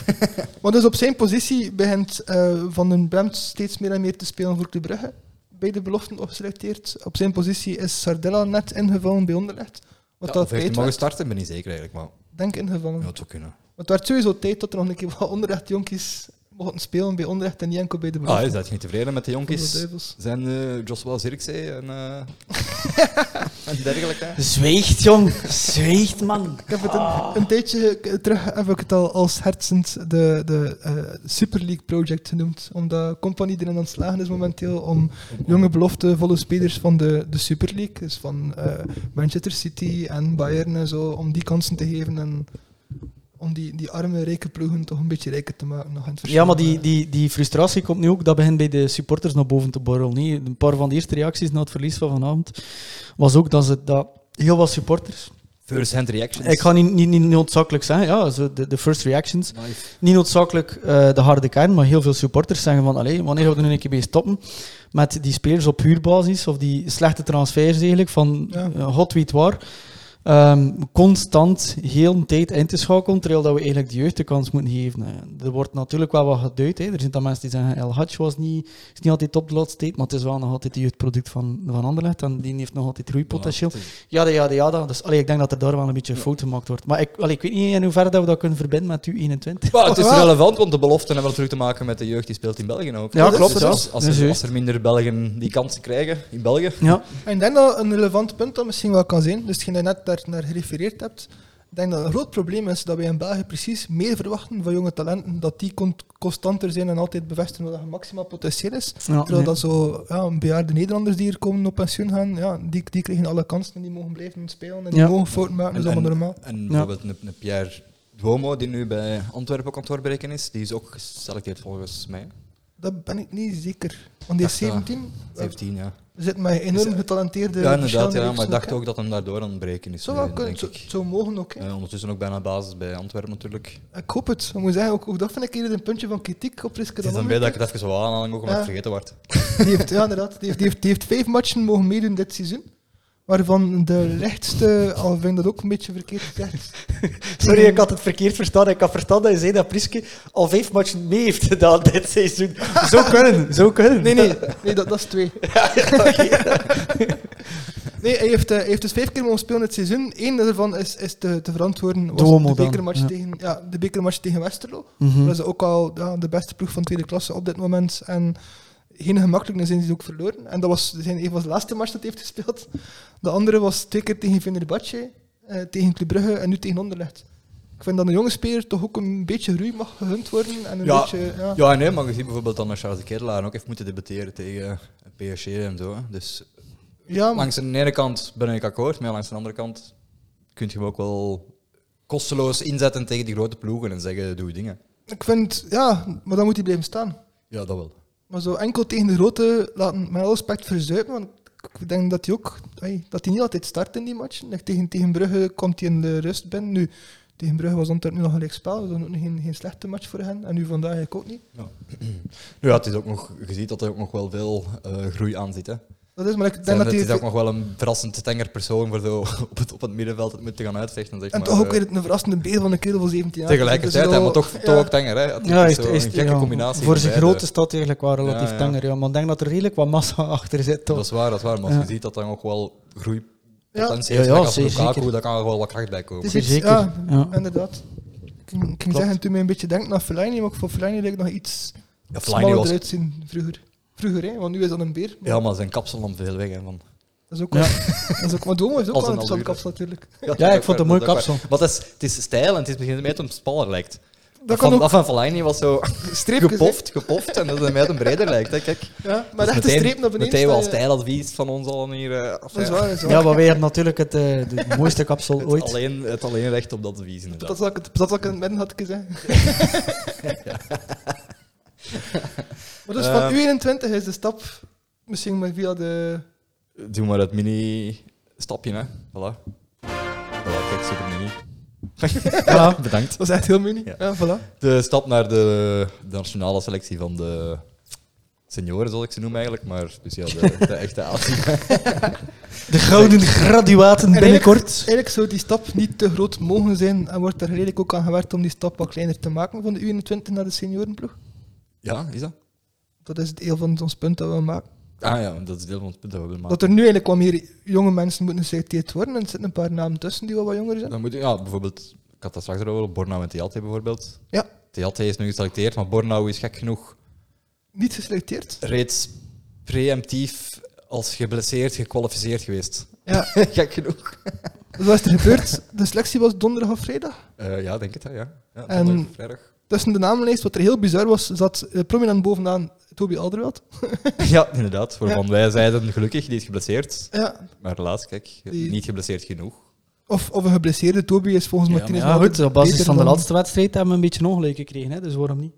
B: Maar dus op zijn positie begint eh, Van den Bremt steeds meer en meer te spelen voor Club Brugge. Bij de beloften opgeselecteerd. Op zijn positie is Sardella net ingevallen bij Onderlecht. Wat
A: ja of
B: dat
A: heeft hij
B: tijd
A: mogen
B: werd,
A: starten? Ik ben niet zeker eigenlijk, maar
B: denk ingevallen.
A: ja, het zou kunnen.
B: Want het werd sowieso tijd dat er nog een keer wat onderrecht jonkies mochten spelen bij Onrecht en Janko bij de
A: Ah,
B: belofte.
A: is dat je niet tevreden met de
B: Van de
A: jonkies?
B: duivels.
A: Zijn eh Joshua Zirkzee en, eh, en dergelijke?
C: Zweegt, jong. Zweegt, man.
B: Ik heb het een, een tijdje k- terug heb ik het al als hertsend de, de eh, Super League Project genoemd. Omdat Company erin aan het slagen is momenteel om jonge beloftevolle spelers van de, de Super League, dus van eh, Manchester City en Bayern en zo, om die kansen te geven en om die, die arme rijke ploegen toch een beetje rijker te maken. Nog in het verschil. eh.
C: Ja, maar die, die, die frustratie komt nu ook, dat begint bij de supporters naar boven te borrelen. nee. Een paar van de eerste reacties na het verlies van vanavond was ook dat, ze, dat heel wat supporters...
A: First-hand reactions.
C: Ik ga niet, niet, niet noodzakelijk zeggen, ja, zo de, de first reactions.
A: Nice.
C: Niet noodzakelijk eh, de harde kern, maar heel veel supporters zeggen van allee, wanneer gaan we er nu een keer mee stoppen met die spelers op huurbasis of die slechte transfers eigenlijk van
B: Ja.
C: eh, god weet waar. Ehm, constant heel de tijd in te schakelen, terwijl dat we eigenlijk de jeugd de kans moeten geven. Eh, Er wordt natuurlijk wel wat geduid. Hè. Er zijn dan mensen die zeggen El Hadj was niet, is niet altijd op de laatste tijd, maar het is wel nog altijd het jeugdproduct van, van Anderlecht en die heeft nog altijd groeipotentieel. Ja, ja, ja. ja. Dus allee, ik denk dat er daar wel een beetje fout gemaakt wordt. Maar ik, allee, ik weet niet in hoeverre dat we dat kunnen verbinden met U21.
A: Maar het is
B: Ah.
A: relevant, want de beloften hebben wel terug te maken met de jeugd die speelt in België ook.
C: Ja,
A: Dus
C: klopt, ja.
A: Als, als,
C: Dat is
A: er,
C: juist.
A: als er minder Belgen die kansen krijgen in België,
C: Ja,
B: En ik denk dat een relevant punt dat misschien wel kan zijn, dus hetgeen dat je net daar naar gerefereerd hebt, ik denk dat een groot probleem is dat wij in België precies meer verwachten van jonge talenten, dat die con- constanter zijn en altijd bevestigen wat hun maximaal potentieel is.
C: ja,
B: Terwijl dat zo ja, bejaarde Nederlanders die hier komen op pensioen gaan, ja, die, die krijgen alle kansen en die mogen blijven spelen en die
C: Ja.
B: mogen fouten maken, dat is
A: En-
B: allemaal normaal.
A: En bijvoorbeeld een, een Pierre Duomo, die nu bij Antwerpen ook aan het doorbreken is, die is ook geselecteerd volgens mij.
B: Dat ben ik niet zeker. Want die is
A: Dacht, ah,
B: 17, eh,
A: 17, ja.
B: zit met enorm
A: Is-
B: getalenteerde...
A: Ja, inderdaad,
B: verschillende
A: ja, maar
B: reeksen
A: ik
B: ook,
A: dacht
B: hè.
A: ook dat hem daardoor aan het breken is.
B: Zo,
A: nu,
B: wel kunnen,
A: denk
B: zo,
A: ik.
B: zo mogen ook. hè.
A: Eh, ondertussen ook bijna basis bij Antwerpen natuurlijk.
B: Ik hoop het. Ik moet zeggen, ook, ook dat vind ik hier een puntje van kritiek op Riske
A: Het is dan bij dat ik het even zo aanhang, ook omdat
B: Ja.
A: het vergeten wordt.
B: Die heeft, ja, inderdaad. Die heeft, die, heeft, die heeft vijf matchen mogen meedoen dit seizoen. Waarvan de lichtste, al vind ik dat ook een beetje verkeerd gezegd.
C: Sorry, ik had het verkeerd verstaan. Ik had verstaan dat je zei dat Priske al vijf matchen mee heeft gedaan dit seizoen. Zo kunnen, zo kunnen.
B: Nee, nee, nee dat, dat is twee. Nee, hij heeft, eh, hij heeft dus vijf keer mogen spelen dit seizoen. Eén daarvan is, is te, te verantwoorden. Was
C: Duomo
B: de
C: dan,
B: bekermatch,
C: ja.
B: tegen, ja, de bekermatch tegen Westerlo.
C: Mhm.
B: Dat is ook al ja, de beste ploeg van tweede klasse op dit moment. En geen gemakkelijke zijn ze ook verloren. En dat was zijn een van de laatste match dat hij heeft gespeeld. De andere was twee keer tegen Venerbatje, eh, tegen Club Brugge en nu tegen Anderlecht. Ik vind dat een jonge speler toch ook een beetje groei mag gegund worden. En een
A: Ja.
B: beetje, ja.
A: Ja, nee, maar je ziet bijvoorbeeld dan dat Charles de Ketelaar ook heeft moeten debatteren tegen een PSG en zo. hè. Dus
B: Ja, maar-
A: langs de ene kant ben ik akkoord, maar langs de andere kant kun je hem ook wel kosteloos inzetten tegen die grote ploegen en zeggen, doe je dingen.
B: ik vind, ja, maar dan moet hij blijven staan.
A: Ja, dat wel.
B: Maar zo enkel tegen de grote laten met alle respect verzuipen. Want ik denk dat hij ook ai, dat hij niet altijd start in die matchen. Like, tegen, tegen Brugge komt hij in de rust binnen. Nu, tegen Brugge was Antwerpen nu nog een spel. dus Dat was ook nog geen, geen slechte match voor hen. En nu vandaag eigenlijk ook niet.
A: Nu, ja, het is ook nog, je ziet dat er ook nog wel veel eh, groei aan zit. Hè.
B: Dat is, maar ik denk
A: Zijn,
B: dat
A: het
B: hij.
A: is ook nog wel een verrassend tenger persoon voor zo op, het, op het middenveld het moet te gaan uitvechten. Zeg
B: en
A: maar.
B: toch ook
A: Eh,
B: weer een verrassende beer van een kerel van 17 jaar.
A: Tegelijkertijd,
B: Dus
A: hè,
B: zo-
A: maar toch, toch
B: ja.
A: ook tenger. Hè. Het
C: Ja,
A: is
C: is,
A: zo
C: is,
A: een gekke
C: ja,
A: combinatie.
C: Voor
A: van
C: zijn
A: beide.
C: grote stad eigenlijk wel relatief
A: Ja, ja.
C: tanger. Ja. Maar ik denk dat er redelijk wat massa achter zit. Toch?
A: Dat is waar, dat is waar. Maar als
C: Ja.
A: je ziet dat dan ook wel
B: Ja.
A: groeipotentieel
C: Ja,
A: is,
C: ja,
A: als
C: zeker.
A: Lukaku, daar kan er wel wat kracht bij komen.
B: Het is iets-
C: Zeker,
B: Ja,
C: ja.
B: inderdaad. Ik ging- Ik ging
A: Klopt.
B: zeggen, toen mij een beetje denkt naar Fellaini, maar ik vond Fellaini leek nog iets
A: Ja, Fellaini
B: smaller
A: was,
B: eruit zien vroeger. Vroeger, hè, want nu is dat een beer. maar-
A: ja, maar zijn kapsel nam veel weg. Hè, van.
B: Dat is ook
C: Ja.
B: wel. Dat is ook, maar Domo heeft ook
A: Als
B: wel een
A: een
B: interessante
A: allure.
B: kapsel natuurlijk.
C: Ja, ik vond het een mooi kapsel.
A: Want het is, het is stijl en het is begint mee dat het smaller lijkt.
B: Dat,
A: Dat,
B: kan
A: van,
B: ook.
A: dat van Fellaini was zo
B: Streepjes, hè.
A: gepoft, gepoft en dat het mij een breder lijkt. Hè, kijk.
B: Ja, maar
A: Dus
B: echt de
A: meteen-
B: streep naar beneden.
A: Meteen wel
B: sta je-
A: stijladvies van ons allen hier. eh,
B: Dat is
A: ja.
B: waar, dat is waar.
C: Ja, maar wij hebben natuurlijk het, eh, de mooiste kapsel
A: Het,
C: ooit.
A: alleen, het alleen recht op dat advies, inderdaad.
B: Dat zal ik, het- dat zal ik in het midden had ik gezegd. maar dus van
A: Ehm.
B: U21 is de stap misschien maar via de...
A: Doe maar dat mini-stapje, hè. Voilà. Voilà, kijk, super mini.
C: Ja.
A: Bedankt.
B: Dat is echt heel mini.
A: Ja.
B: Ja, voilà.
A: De stap naar de, de nationale selectie van de senioren, zal ik ze noemen eigenlijk. Maar dus ja, de, de echte actie.
C: De gouden graduaten
B: En
C: binnenkort.
B: Eigenlijk zou die stap niet te groot mogen zijn en wordt er redelijk ook aan gewerkt om die stap wat kleiner te maken van de U21 naar de seniorenploeg.
A: Ja, is dat?
B: Dat is het heel van ons punt dat we maken.
A: Ah ja, dat is deel van het punt dat we willen maken.
B: Dat er nu eigenlijk wat meer jonge mensen moeten geselecteerd worden en er zitten een paar namen tussen die wel wat jonger zijn.
A: Dan moet je, ja, bijvoorbeeld, ik had dat straks erover, Borna Mentialte bijvoorbeeld.
B: Ja.
A: Theaté is nu geselecteerd, maar Bornau is gek genoeg
B: Niet geselecteerd.
A: reeds preemptief als geblesseerd gekwalificeerd geweest.
B: Ja.
A: gek genoeg.
B: Wat was er gebeurd? De selectie was donderdag of vrijdag.
A: Eh, ja, denk het, hè, ja. ja
B: En-
A: donderdag, vrijdag.
B: Tussen de namenlijst, wat er heel bizar was, zat eh, prominent bovenaan Toby Alderweireld.
A: ja, inderdaad. Waarvan wij zeiden, gelukkig, die is geblesseerd.
B: Ja.
A: Maar helaas, kijk,
B: Die-
A: niet geblesseerd genoeg.
B: Of, of een geblesseerde Toby is volgens
A: Ja,
B: Martinez
C: Ja,
B: nog
C: goed,
B: altijd
C: op basis
B: beter
C: van de
B: dan
C: laatste wedstrijd hebben we een beetje ongelijk gekregen, hè, dus waarom niet?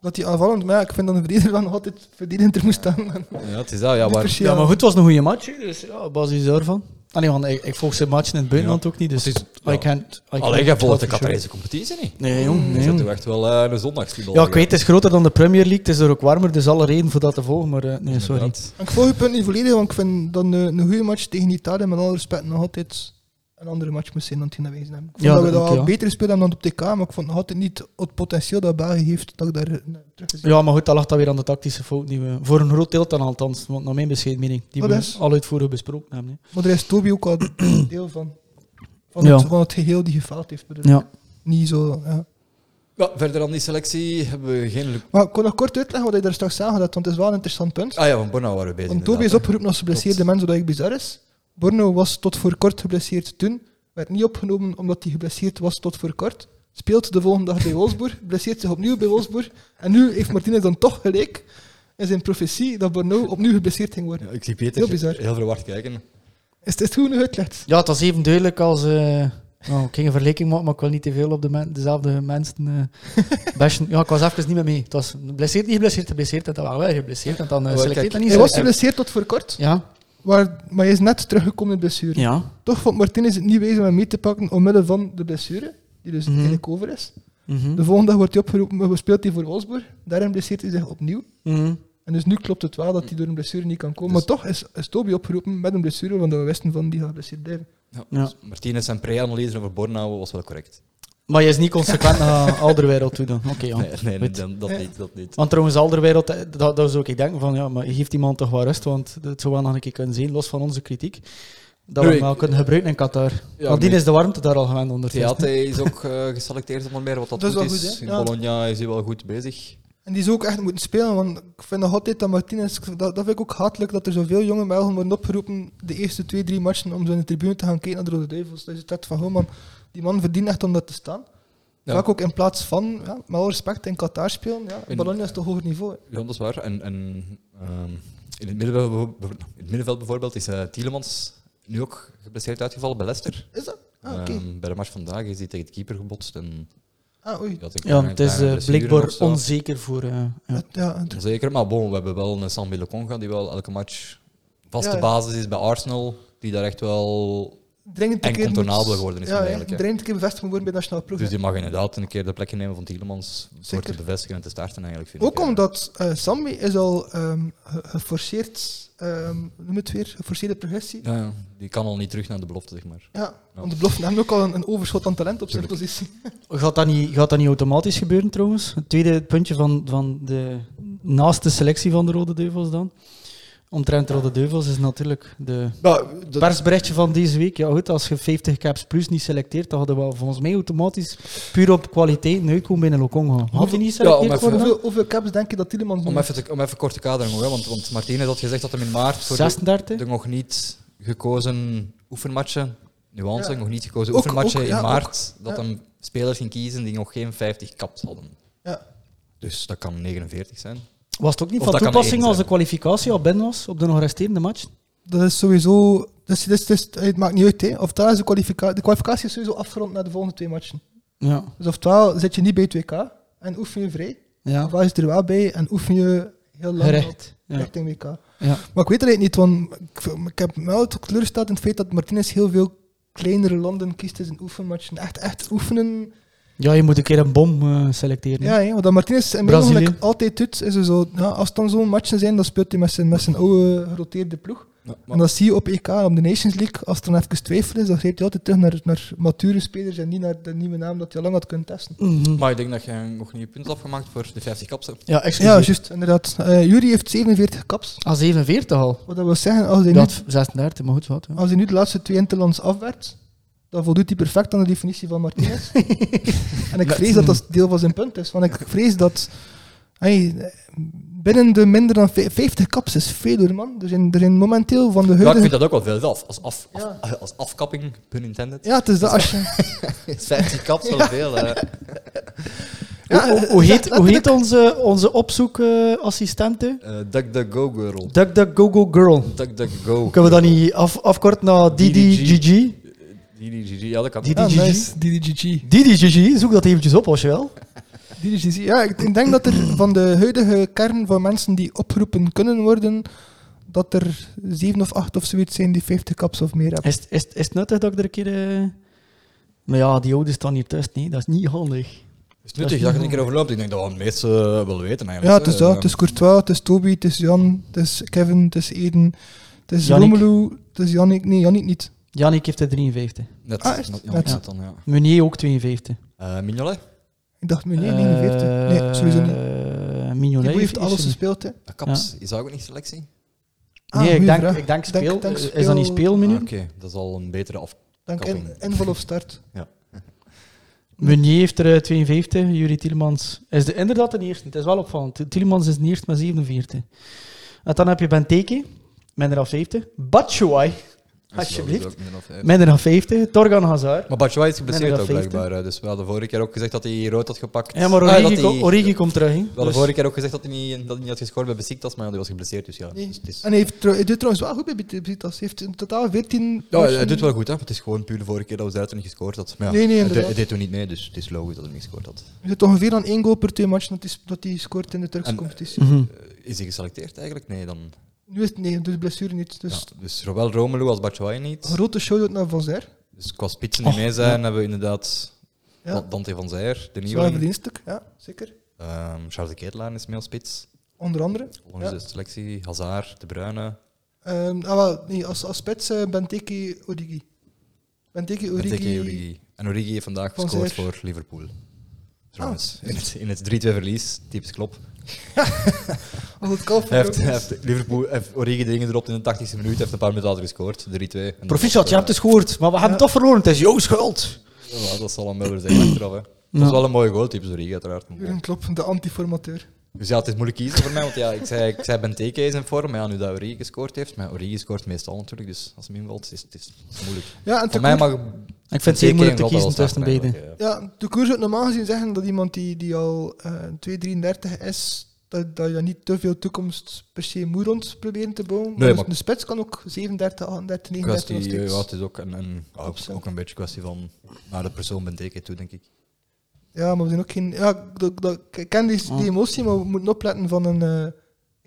B: Dat hij aanvallend, maar ja, ik vind dan de verdediger dan nog altijd verdedigender moest staan.
A: Ja, het is dat. Ja,
B: Niet per
A: waar,
B: se,
C: Ja, maar goed, het was een goede match, hè, dus ja, op basis daarvan. Allee, Ah, want ik, ik volg zijn matchen in het buitenland ook niet, dus
A: Het is-
C: I can't... I
A: Alleen,
C: can't
A: jij volgt de
C: for sure.
A: Catarese competitie niet.
C: Nee, jong.
A: Je
C: Nee,
A: zit toch
C: jong.
A: echt wel eh, een zondagsvoetbal.
C: Ja, ik weet, het is groter dan de Premier League, het is er ook warmer, dus alle reden voor dat te volgen, maar eh, nee, sorry.
A: Inderdaad.
B: Ik volg je punt niet volledig, want ik vind dat een, een goede match tegen Italië met alle respect nog altijd een andere match moest zijn dan die geweest hebben. Ik vond
C: Ja,
B: dat we
C: dat
B: dat
C: ook, ja.
B: beter gespeeld hebben dan op TK, maar ik vond nog altijd niet het potentieel dat België heeft dat ik daar eh, terug gezien.
C: Ja, maar goed, dat lag dan weer aan de tactische fout die we... Voor een groot deel dan althans, want naar mijn bescheiden mening. Die
A: Oh,
B: Wat
C: we
B: is?
C: al uitvoerig besproken hebben. hè.
B: Maar daar is Toby ook al deel van. Van,
C: Ja.
B: het, van het geheel die gefaald heeft. bedoel ik.
C: Ja.
B: Niet zo. Ja.
A: Ja, verder dan die selectie hebben we geen... lu-
B: Maar ik kon nog kort uitleggen wat je daar straks aan had, want het is wel een interessant punt.
A: Ah ja, van Bornau waren we bezig.
B: Want Toby is
A: inderdaad,
B: opgeroepen als geblesseerde mens, zodat ik bizar is. Borno was tot voor kort geblesseerd toen, werd niet opgenomen omdat hij geblesseerd was tot voor kort. Speelt de volgende dag bij Wolfsburg, blesseert zich opnieuw bij Wolfsburg. En nu heeft Martinez dan toch gelijk in zijn profetie dat Borno opnieuw geblesseerd ging
A: hè.
B: worden.
A: Ja, ik zie Peter
B: Heel bizar.
A: heel verward kijken.
B: Is dit goed nu uitgelegd?
C: ja, het was even duidelijk als... eh, nou, ik ging een vergelijking maken, maar ik wil niet te veel op de men- dezelfde mensen eh, bashen. Ja, ik was even niet meer mee. Het was geblesseerd, niet geblesseerd, geblesseerd. En dan waren wij geblesseerd. En dan
A: Maar
C: eh selecteert dat
A: kijk,
C: niet
B: Hij was
C: zo.
B: geblesseerd tot voor kort,
C: Ja,
B: maar, maar hij is net teruggekomen in de blessure.
C: ja.
B: Toch vond Martinez het niet wezen om mee te pakken omwille van de blessure, die dus
C: Mhm.
B: eigenlijk over is.
C: Mhm.
B: De volgende dag wordt hij opgeroepen, maar speelt hij voor Wolfsburg. Daarin blesseert hij zich opnieuw.
C: Mhm.
B: En dus nu klopt het wel dat hij door een blessure niet kan komen.
A: Dus-
B: Maar toch is, is Toby opgeroepen met een blessure, want we wisten van die gaat geblesseerd blijven.
A: Ja.
C: Ja.
A: dus Martinez en pre-analyse over Bornau was wel correct.
C: Maar je is niet consequent naar Alderwereld toe dan. Oké, ja.
A: Nee, nee,
C: Goed.
A: dan- dat niet. Dat niet.
C: Want trouwens, Alderwereld, eh, dat, dat zou ik denken van, ja, maar geeft die man toch wel rust, want het zou wel nog een keer kunnen zien, los van onze kritiek, dat we
A: Nee,
C: hem wel
A: ik-
C: kunnen gebruiken in Qatar.
A: Ja,
C: Want die
A: nee.
C: is de warmte daar al gewend onder.
A: Theater is ook eh, geselecteerd onder meer, wat dat,
B: Dat is
A: goed
B: wel
A: is.
B: goed, hè?
A: In
B: Ja.
A: Bologna is hij wel goed bezig.
B: En die zou ook echt moeten spelen, want ik vind nog altijd dat Martinez, dat, dat vind ik ook hatelijk, dat er zoveel jonge Belgen worden opgeroepen de eerste twee, drie matchen om zo in de tribune te gaan kijken naar de Rode Duivels. Dat is het echt van, goh man, die man verdient echt om dat te staan.
A: Ja.
B: Vaak ook in plaats van, ja, met alle respect, in Qatar spelen. Ja,
A: In-
B: Bologna is toch hoger niveau. hè.
A: Ja, dat is waar. En, en ehm, in, het middenveld, nou, in het middenveld bijvoorbeeld is eh Tielemans nu ook geblesseerd uitgevallen bij Leicester.
B: Is dat? Ah, oké.
A: Ehm, bij de match vandaag is hij tegen de keeper gebotst. En
B: Ah, oei.
A: die had een
C: Ja,
A: kleine-
C: het is
A: kleine
C: eh,
A: blessure of
C: blijkbaar
A: zo.
C: onzeker voor... eh, ja.
B: Dat- ja, het-
A: Zeker, maar bon, we hebben wel een Sambi Lokonga die wel elke match vaste
B: Ja, ja.
A: basis is bij Arsenal. Die daar echt wel...
B: dringend een
A: En
B: keer moet-
A: contournabel geworden is
B: ja,
A: het
B: hè,
A: eigenlijk, hè.
B: Dringend een keer bevestigd moet worden bij de nationale ploeg.
A: Dus
B: hè.
A: die mag inderdaad een keer de plekje nemen van Tielemans voor te
B: Zeker.
A: bevestigen en te starten eigenlijk. Vind
B: Ook
A: ik, eh.
B: omdat eh Sammy is al ehm, ge- geforceerd, ehm, hoe noem het weer, geforceerde progressie. Ja.
A: Ja, ja, die kan al niet terug naar de belofte, zeg maar.
B: want de belofte hebben ook al een, een overschot aan talent op zijn positie.
C: Gaat, dat niet, gaat dat niet automatisch gebeuren trouwens? Het tweede puntje van, van de naaste selectie van de Rode Duivels dan. Omtrent de Rode Duivels is natuurlijk de Het persberichtje van deze week. Ja, goed, als je 50 caps plus niet selecteert, dan hadden we wel volgens mij automatisch puur op kwaliteit uitkomen binnen Lokonga. Had hij niet
A: Ja, maar
C: selecteerd
A: even-
C: worden?
B: Hoeveel, hoeveel caps denk je dat Tielemans
A: Om
B: nu
A: even, te- om even kort te kaderen, hoor, want, want Martinez had gezegd dat hem in maart voor de-
C: 36?
A: de nog niet gekozen oefenmatchen, nuance,
B: Ja.
A: nog niet gekozen
B: Ook-
A: oefenmatchen
B: ook, ja,
A: in maart, dat
B: Ja.
A: hem spelers ging kiezen die nog geen 50 kaps hadden.
B: Ja.
A: Dus dat kan 49 zijn.
C: Was het ook niet
A: Of
C: van
A: dat kan
C: toepassing
A: één
C: als de
A: zijn.
C: kwalificatie al binnen was op de nog resterende match?
B: Dat is sowieso, dat is, dat is- dat is- het maakt niet uit. Hè. Oftewel is de, kwalifica- de kwalificatie is sowieso afgerond naar de volgende twee matchen.
C: Ja.
B: Dus oftewel zit je niet bij het WK en oefen je vrij.
C: ja.
B: Ofwel is je er wel bij en oefen je heel lang op
C: Gerecht. Ja.
B: richting WK.
C: Ja.
B: Maar ik weet het eigenlijk niet, want ik, v- ik heb me wel teleurgesteld in het feit dat Martinez heel veel kleinere landen kiest in zijn oefenmatchen. Echt, echt oefenen.
C: ja, je moet een keer een bom eh, selecteren.
B: Ja, hè, want dat Martinez in mijn
C: Brazilië.
B: ogen altijd doet, is er zo, ja, als het dan zo'n matchen zijn, dan speelt hij met zijn, met zijn oude geroteerde ploeg. En dat zie je op EK, op de Nations League, als er dan even twijfel is, dan grijpt hij altijd terug naar, naar mature spelers en niet naar de nieuwe naam dat je al lang had kunnen testen.
C: Mhm.
A: Maar ik denk dat je nog niet je punt hebt afgemaakt voor de 50 kapsen.
C: ja
B: Ja,
C: excuseer.
B: juist, inderdaad. Eh Jury heeft 47 kaps.
C: Ah, 47 al.
B: Wat dat wil zeggen, als hij,
C: Ja,
B: nu,
C: het- 36, maar goed, wat. Ja.
B: als hij nu de laatste twee interlands afwerkt, dan voldoet hij perfect aan de definitie van Martinez. en ik vrees dat dat deel van zijn punt is. Want ik vrees dat hey, binnen de minder dan vij- 50 kaps is veel hoor, man. Er zijn, er zijn momenteel van de
A: Ja, ik
B: huidige...
A: vind dat ook wel veel zelf. Als, af, af-
B: Ja.
A: eh, als afkapping, pun intended.
B: Ja, het is dat als je...
A: 50 kaps wel veel. eh.
B: Ja,
C: hoe, hoe heet, hoe
B: letterlijk.
C: heet onze, onze opzoekassistente?
A: Eh, DuckDuckGo girl.
C: DuckDuckGoGo Girl.
A: DuckDuckGo.
C: Kunnen we dat niet af, afkorten naar DDGG?
A: DDGG, ja dat kan.
C: Die-
B: Ah,
C: DDGG.
B: nice. DDGG.
C: DDGG, zoek dat eventjes op als je wel.
B: DDGG. Ja, ik ik denk dat er van de huidige kern van mensen die opgeroepen kunnen worden, dat er zeven of acht of zoiets zijn die 50 kaps of meer hebben.
C: Is, het- is, het- is het nuttig dat ik er een keer... eh, Maar ja, die ouders staan hier thuis, nee, dat is niet handig.
A: Het is nuttig dat je er een keer over loopt. Ik denk dat we het meeste eh, wel weten eigenlijk.
B: Ja, het
A: eh.
B: is dat. Het is Courtois, het is Toby, het is Jan, het is Kevin, het is Eden, het is
C: Yannick.
B: Romelu, het is Jannik. Nee, Jannik niet.
C: Jannik heeft er 53.
A: Net,
B: Ah, echt?
A: net, ja,
B: Net.
A: ik zat dan, ja.
C: Meunier ook 52.
A: Eh, Mignolet?
B: Ik dacht, meneer,
C: Eh,
B: 49. Nee, sowieso niet.
C: niet.
B: Die
C: Mignolet
B: boy heeft
C: is
B: alles
C: er niet.
B: gespeeld, hè.
A: Dat kaps, is dat ook niet selectie?
B: Ah,
C: nee, ik
B: goeie
C: denk,
B: vraag.
C: ik denk speel.
B: Denk- denk
C: Eh, Is
B: speel-
C: dat niet speelmenu?
A: Ah, Oké, dat is al een betere af.
B: Dank in,
A: Kapping.
B: inval of start.
C: Meunier heeft er eh, 52, Jurie Tielemans is de, inderdaad de eerste. Het is wel opvallend. Tielemans is de eerste met 47. En dan heb je Benteke, minder dan 50. Batshuayi, Alsjeblieft.
A: Maar
C: minder dan 50. Torgan Hazard.
A: Batshuayi is geblesseerd
C: Nee,
A: ook
C: dat heeft
A: blijkbaar. eh, Dus we hadden vorige keer ook gezegd dat hij rood had gepakt.
C: Ja, maar
A: Ah,
C: Origi,
A: dat hij-
C: ko- Origi komt terug. hè.
A: We hadden
C: Dus-
A: vorige keer ook gezegd dat hij niet, dat hij niet had gescoord bij Besiktas, maar ja, die was geblesseerd. Dus ja,
B: Nee.
A: het is-
B: En hij, heeft, trouw- hij doet trouwens wel goed bij Bit- Besiktas. Hij heeft in totaal 14...
A: Ja,
B: matchen-
A: hij doet wel goed, hè. Het is gewoon puur de vorige keer dat we Zuid niet gescoord had. Maar ja,
B: Nee,
A: hij,
B: nee,
A: deed,
B: inderdaad.
A: hij deed toen niet mee, dus het is logisch dat hij niet gescoord had.
B: Hij zit ongeveer aan één goal per twee matchen dat hij, dat hij scoort in de Turkse
A: En-
B: competitie.
C: Mhm.
A: Eh, Is hij geselecteerd eigenlijk? Nee, dan...
B: Nu is het nee, dus blessure niet. Dus Oh.
A: ja, dus zowel Romelu als Batshuayi niet.
B: grote show naar Van Zer.
A: Dus qua spitsen die
C: Och,
A: mee zijn, hebben we inderdaad
B: Oh, Ja.
A: Dan- Dante van Zijer, de
B: Zwaar
A: nieuwe.
B: verdienstelijk, ja, zeker.
A: Ehm Charles de Ketelaar is mee als spits.
B: Onder andere.
A: Volgens de selectie, Hazard, De Bruyne.
B: Ehm, ah, wel, nee, als, als spits eh, Benteke Origi. Benteke Origi.
A: Benteke, Origi. En Origi heeft vandaag
B: Van
A: gescoord
B: Zijer. Ah,
A: voor Liverpool. Trouwens, in het, in het 3-2 verlies, typisch klop.
B: Als het kalf
A: Hij heeft,
B: ook is.
A: hij heeft Liverpool, hij heeft Origi erin gedropt in de 80e minuut, hij heeft een paar minuten later gescoord, 3-2. En
C: Proficiat, je
A: dat
C: hebt
A: was,
C: het gehoord, maar we hebben
B: Ja.
C: toch verloren. Het is jouw schuld.
A: eh, ja, dat zal hem wel weer zeggen achteraf. Hè. Dat was
C: Ja.
A: wel een mooie goal, typisch Origi uiteraard. Maar
B: Jurgen
A: bon.
B: Klopp, de antiformateur.
A: Dus ja, het is moeilijk kiezen voor mij, want ja, ik zei, ik zei Benteke is in vorm, maar ja, nu dat Origi gescoort heeft, maar Origi scoort meestal natuurlijk, dus als hem invalt, is het is het moeilijk.
B: Ja, en
A: Voor mij
B: Tekoer-
A: mag...
C: Ik vind het zeer moeilijk te kiezen tussen beiden.
B: ja, de koers zou normaal gezien zeggen dat iemand die, die al eh 2,33 is, dat, dat je daar niet te veel toekomst per se moe rond proberen te bouwen.
A: Nee,
B: dus
A: maar-
B: een spits kan ook 37, 38, 39 of
A: Kwestie, eh, ja,
B: zoiets.
A: het is ook een, een, ja, ook, ook een beetje kwestie van naar de persoon Benteke toe, denk ik.
B: Ja, maar we zijn ook geen. Ja, ik- dat- dat- ik ken die, die
C: Ja.
B: emotie, maar we moeten opletten van een. eh,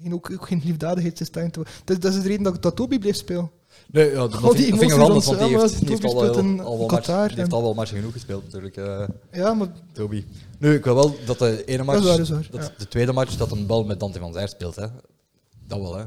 B: geen, ook, ook geen liefdadigheidssysteem te worden. Dat, is- dat is de reden dat ik dat Toby bleef spelen.
A: Nee, ja, dat
B: Al Oh, die
A: vind- dat vind ik
B: emoties
A: wel
B: rond-
A: anders, want die
B: ja,
A: heeft,
B: maar
A: die heeft
B: Toby
A: al, eh,
B: speelt in
A: al, al, wel
B: Qatar
A: matchen- die heeft
B: en-
A: al wel matchen genoeg gespeeld, natuurlijk, eh,
B: Ja, maar
A: Toby. Nu, ik wil wel dat de ene match,
B: Dat is waar, dat is waar, ja.
A: de tweede match, dat een bal met Dante van Zijl speelt. Hè. Dat wel, hè.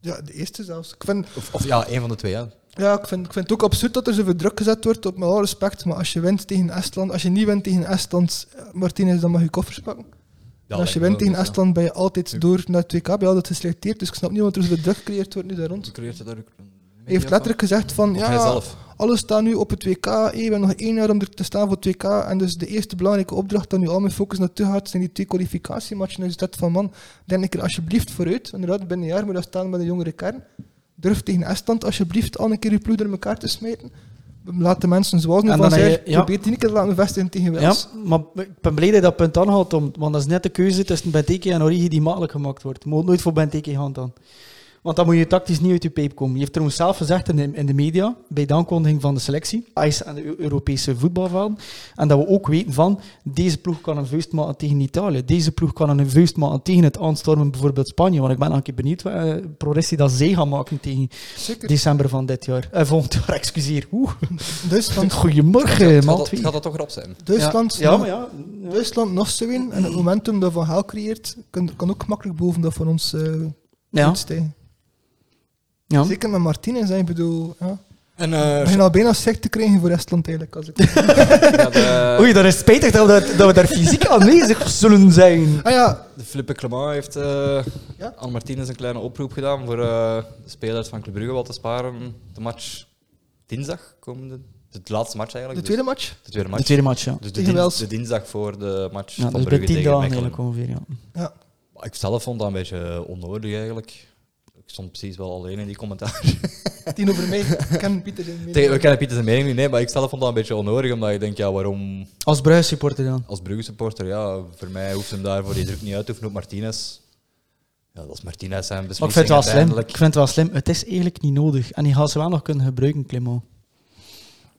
B: ja, de eerste zelfs. Ik vind,
A: Of, of ja, één van de twee, hè.
B: ja, ik, vind, ik vind het ook absurd dat er zoveel druk gezet wordt, op mijn alle respect. Maar als je wint tegen Estland, als je niet wint tegen Estland, eh, Martinez, dan mag je koffers pakken.
A: Ja,
B: en als je
A: lijkt me wel,
B: wint tegen
A: dus, ja.
B: Estland, ben je altijd door naar het WK. Ben je altijd geselecteerd. Dus ik snap niet waarom er zoveel druk gecreëerd wordt nu daar rond.
A: Ze creëert daar ook een
B: Hij heeft
A: media
B: letterlijk gezegd van,
A: van. Of
B: ja,
A: hij zelf.
B: Alles staat nu op het WK. Hey, we hebben nog één jaar om er te staan voor het WK. En dus de eerste belangrijke opdracht dat nu al mijn focus naartoe gaat, zijn die twee kwalificatiematchen. Dus dat van man, denk ik er alsjeblieft vooruit. Inderdaad, binnen een jaar moet dat staan met een jongere kern. Durf tegen Estland alsjeblieft al een keer je ploeg door elkaar te smijten. Laat de mensen zoals nu
C: En
B: van
C: dan heb
B: zijn.
C: je- ja.
B: Probeer tien keer te laten bevestigen tegen
C: Ja,
B: Wales.
C: maar ik ben blij dat je dat punt aanhaalt, om- want dat is net de keuze tussen Benteke en Origi die makkelijk gemaakt wordt. Je moet nooit voor Benteke gaan dan. Want dan moet je tactisch niet uit je pijp komen. Je heeft trouwens zelf gezegd in de, in de media, bij de aankondiging van de selectie, IJs en de Eu- Europese voetbalvelden, en dat we ook weten van, deze ploeg kan een vuist maken tegen Italië, deze ploeg kan een vuist maken tegen het aanstormen bijvoorbeeld Spanje, want ik ben nog een keer benieuwd wat eh, progressie dat zij gaan maken tegen
B: Zeker.
C: december van dit jaar. Eh, volgend jaar, excuseer. Oeh,
B: Duitsland, eh,
A: Het
C: goedemorgen,
A: gaat,
C: man.
A: dat- het gaat dat toch rap zijn?
B: Duitsland,
C: Ja,
B: nog-
C: maar ja. ja.
B: Duitsland nog zo in. En het momentum dat Van Gaal creëert, kan, kan ook makkelijk boven dat van ons eh
C: Ja,
B: uitstijgen.
C: ja.
B: Zeker met Martinez, hè, ik bedoel... Ja.
A: En eh,
B: Ik begin al bijna sec te krijgen voor Estland eigenlijk. Als ik...
A: de,
C: Oei, dat is spijtig dat we, daar- dat we daar fysiek aanwezig zullen zijn.
B: ah ja,
A: de Flippe Clement heeft eh
B: Ja?
A: aan Martinez een kleine oproep gedaan voor eh, de spelers van Club Brugge wat te sparen. De match dinsdag komende De laatste match eigenlijk.
B: De
A: dus.
B: tweede match?
A: de tweede
C: De
A: match.
C: tweede match, ja.
A: Dus de,
B: tegen
A: dins-
B: Wales.
A: de dinsdag voor de match
C: ja
A: van
C: dus bij
A: Brugge
C: tien
A: tegen
C: dagen
A: Mechelen.
C: eigenlijk ongeveer, ja.
B: Ja.
A: Maar Ik zelf vond dat een beetje onnodig eigenlijk. Ik stond precies wel alleen in die commentaar.
B: Tien over mij. Ik ken Pieter in mee.
A: Tegen- We kennen Pieter zijn mening niet, nee, maar ik zelf vond dat een beetje onnodig, omdat ik denk, ja, waarom
C: Als Brugge supporter dan.
A: als Brugge-supporter, ja, voor mij hoeft hem daar voor die druk niet uit te oefenen op Martinez. Ja, dat is Martinez zijn
C: Maar ik
A: beslissing
C: vind het wel slim. Ik
A: uiteindelijk.
C: vind het wel slim. Het is eigenlijk niet nodig. En die gaat ze wel nog kunnen gebruiken, Clément.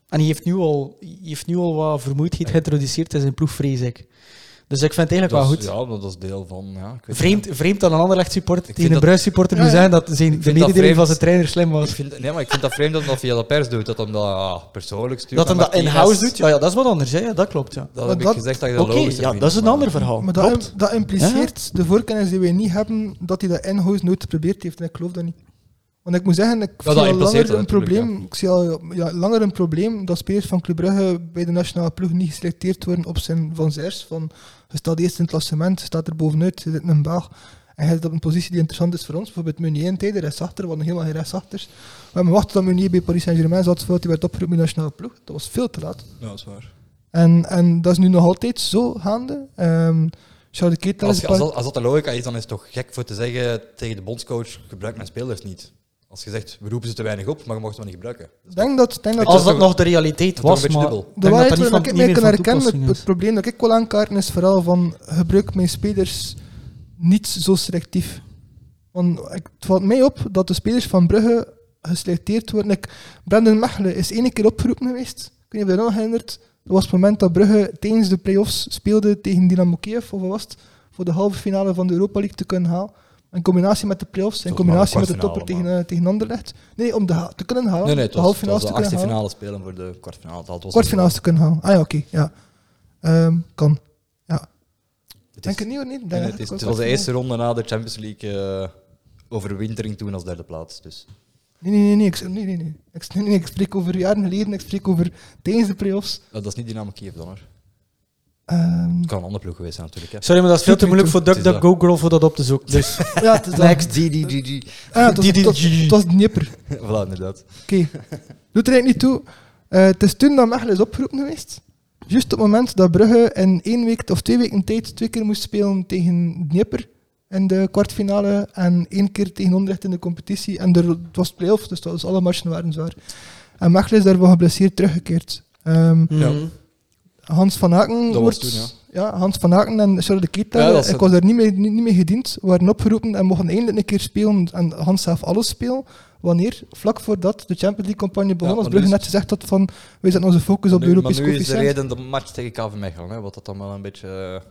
C: En die heeft nu al, die heeft nu al wat vermoeidheid geïntroduceerd in zijn ploeg, vrees ik. Dus ik vind het eigenlijk
A: Dat
C: wel
A: is-
C: goed.
A: Ja, dat is deel van... Ja, ik weet
C: Vreemd, vreemd dat een ander supporter
A: Ik
C: tegen
A: vind
C: een
A: dat-
C: Bruis supporter
B: Ja,
C: moet
B: ja.
C: zijn dat zijn, de
A: vind dat
C: mededeling
A: vreemd.
C: van zijn trainer slim
A: niet. Ik
C: was.
A: vind, nee, maar ik vind dat vreemd dat hij dat via de pers doet, dat hem dat ah, persoonlijk stuurt.
C: Dat hem
A: naar
C: dat in-house
A: Martinez.
C: doet, ja, ja, dat is wat anders. Hè. Ja, dat klopt. Ja.
A: Dat
B: Maar
A: heb
B: dat-
A: ik gezegd dat je dat
C: Oké,
A: logisch
C: ja,
A: vindt,
C: dat is een
A: maar-
C: ander verhaal.
B: Maar dat,
C: klopt.
B: im- dat impliceert de voorkennis die wij niet hebben, dat hij dat in-house nooit geprobeerd heeft. En ik geloof dat niet. Want ik moet zeggen, ik
A: dat
B: zie al
A: impliceert
B: langer
A: dat
B: een
A: natuurlijk,
B: probleem. Ik zie al ja, langer een probleem dat spelers van Club Brugge bij de nationale ploeg niet geselecteerd worden op zijn van zers. Van je staat eerst in het klassement, je staat er bovenuit, je zit in een baag. En je zit op een positie die interessant is voor ons. Bijvoorbeeld Meunier in tijden, rechtsachter, we hadden helemaal geen rechtsachters. We hebben wachten tot Meunier bij Paris Saint-Germain zat, voordat hij werd opgeroepen in de nationale ploeg. Dat was veel te laat.
A: Ja, dat is waar.
B: En, en dat is nu nog altijd zo gaande. Ehm Charles de Keita
A: Als,
B: is
A: je-
B: pas-
A: als, dat- als dat de logica is, dan is het toch gek voor te zeggen tegen de bondscoach, gebruik mijn spelers niet. Als je zegt, we roepen ze te weinig op, maar je mocht ze niet gebruiken.
B: Ik denk dat, ik denk dat,
A: Als
C: Als
A: dat
C: dat
A: toch-
C: nog de realiteit
A: dat is
C: was,
A: toch een
C: maar
A: beetje
C: ik
A: dubbel.
B: de
C: denk dat
B: waarheid
C: dat niet
B: waar
C: van,
B: dat ik mee
C: niet meer
B: kan
C: van
B: herkennen, het,
C: toepassing
B: het
C: is.
B: probleem dat ik wil aankaarten is vooral van gebruik mijn spelers niet zo selectief. Want ik, het valt mij op dat de spelers van Brugge geselecteerd worden. Ik, Brendan Mechelen is één keer opgeroepen geweest. Ik weet niet of je dat nog herinnert. Dat was het moment dat Brugge tijdens de play-offs speelde tegen Dynamo Kiev, of wat was het, voor de halve finale van de Europa League te kunnen halen. In combinatie met de play-offs, in
A: was maar
B: combinatie
A: de
B: met de topper tegen,
A: kwartfinale,
B: eh, tegen Anderlecht. Nee, om de ha- te kunnen halen.
A: Nee, nee, het
B: de
A: was,
B: halve
A: het was
B: finales
A: de
B: te kunnen
A: achtste finale
B: halen
A: spelen voor de kwartfinale. Dat was
B: kwartfinales te kunnen halen. Ah ja, oké. ja. Ehm, kan.
A: Het is-
B: Denk het niet hoor, nee. Denk
A: en
B: dat
A: het,
B: het
A: is,
B: kwart-
A: het was de eerste ronde na de Champions League eh, overwintering toen als derde plaats. Dus.
B: Nee, nee, nee. nee, ik, nee, nee, nee. Ik, nee, nee, ik spreek over jaren geleden. Ik spreek over tijdens de play-offs.
A: Dat is niet Dynamo Kiev dan hoor.
B: Ehm,
A: Het kan een andere ploeg geweest zijn natuurlijk. Hè.
C: Sorry, maar dat is veel te
B: Doet
C: moeilijk voor
A: niet toe.
C: DuckDuckGo Girl voor dat op te zoeken. Dus
B: ja, het is dat.
C: Next.
A: DDGG.
B: Ah, ja, het was, het was, het was Dnieper.
A: voilà, inderdaad.
B: Oké. Doet er eigenlijk niet toe. Eh, het is toen dat Mechelen is opgeroepen geweest. Juist op het moment dat Brugge in één week of twee weken tijd twee keer moest spelen tegen Dnieper in de kwartfinale en één keer tegen Onrecht in de competitie. En er, het was play-off, dus dat was, alle matchen waren zwaar. En Mechelen is daarvan geblesseerd teruggekeerd. Ehm,
A: Ja.
B: Hans van Haken
A: Dat was
B: wordt...
A: toen, ja.
B: ja. Hans van Haken en Charles de Keita,
A: Ja, dat is
B: ik
A: het.
B: was daar niet mee, niet, niet mee gediend, waren opgeroepen en mochten eindelijk een keer spelen. En Hans zelf alles spelen. Wanneer? Vlak voordat de Champions League-campagne begon,
A: Ja,
B: als
A: maar
B: Brugge
A: nu
B: net gezegd had van, wij zetten onze focus op de
A: Nu, maar
B: Europese
A: nu is de
B: coëfficiënt.
A: reden de match tegen KV Mechelen, hè, wat dat dan wel een beetje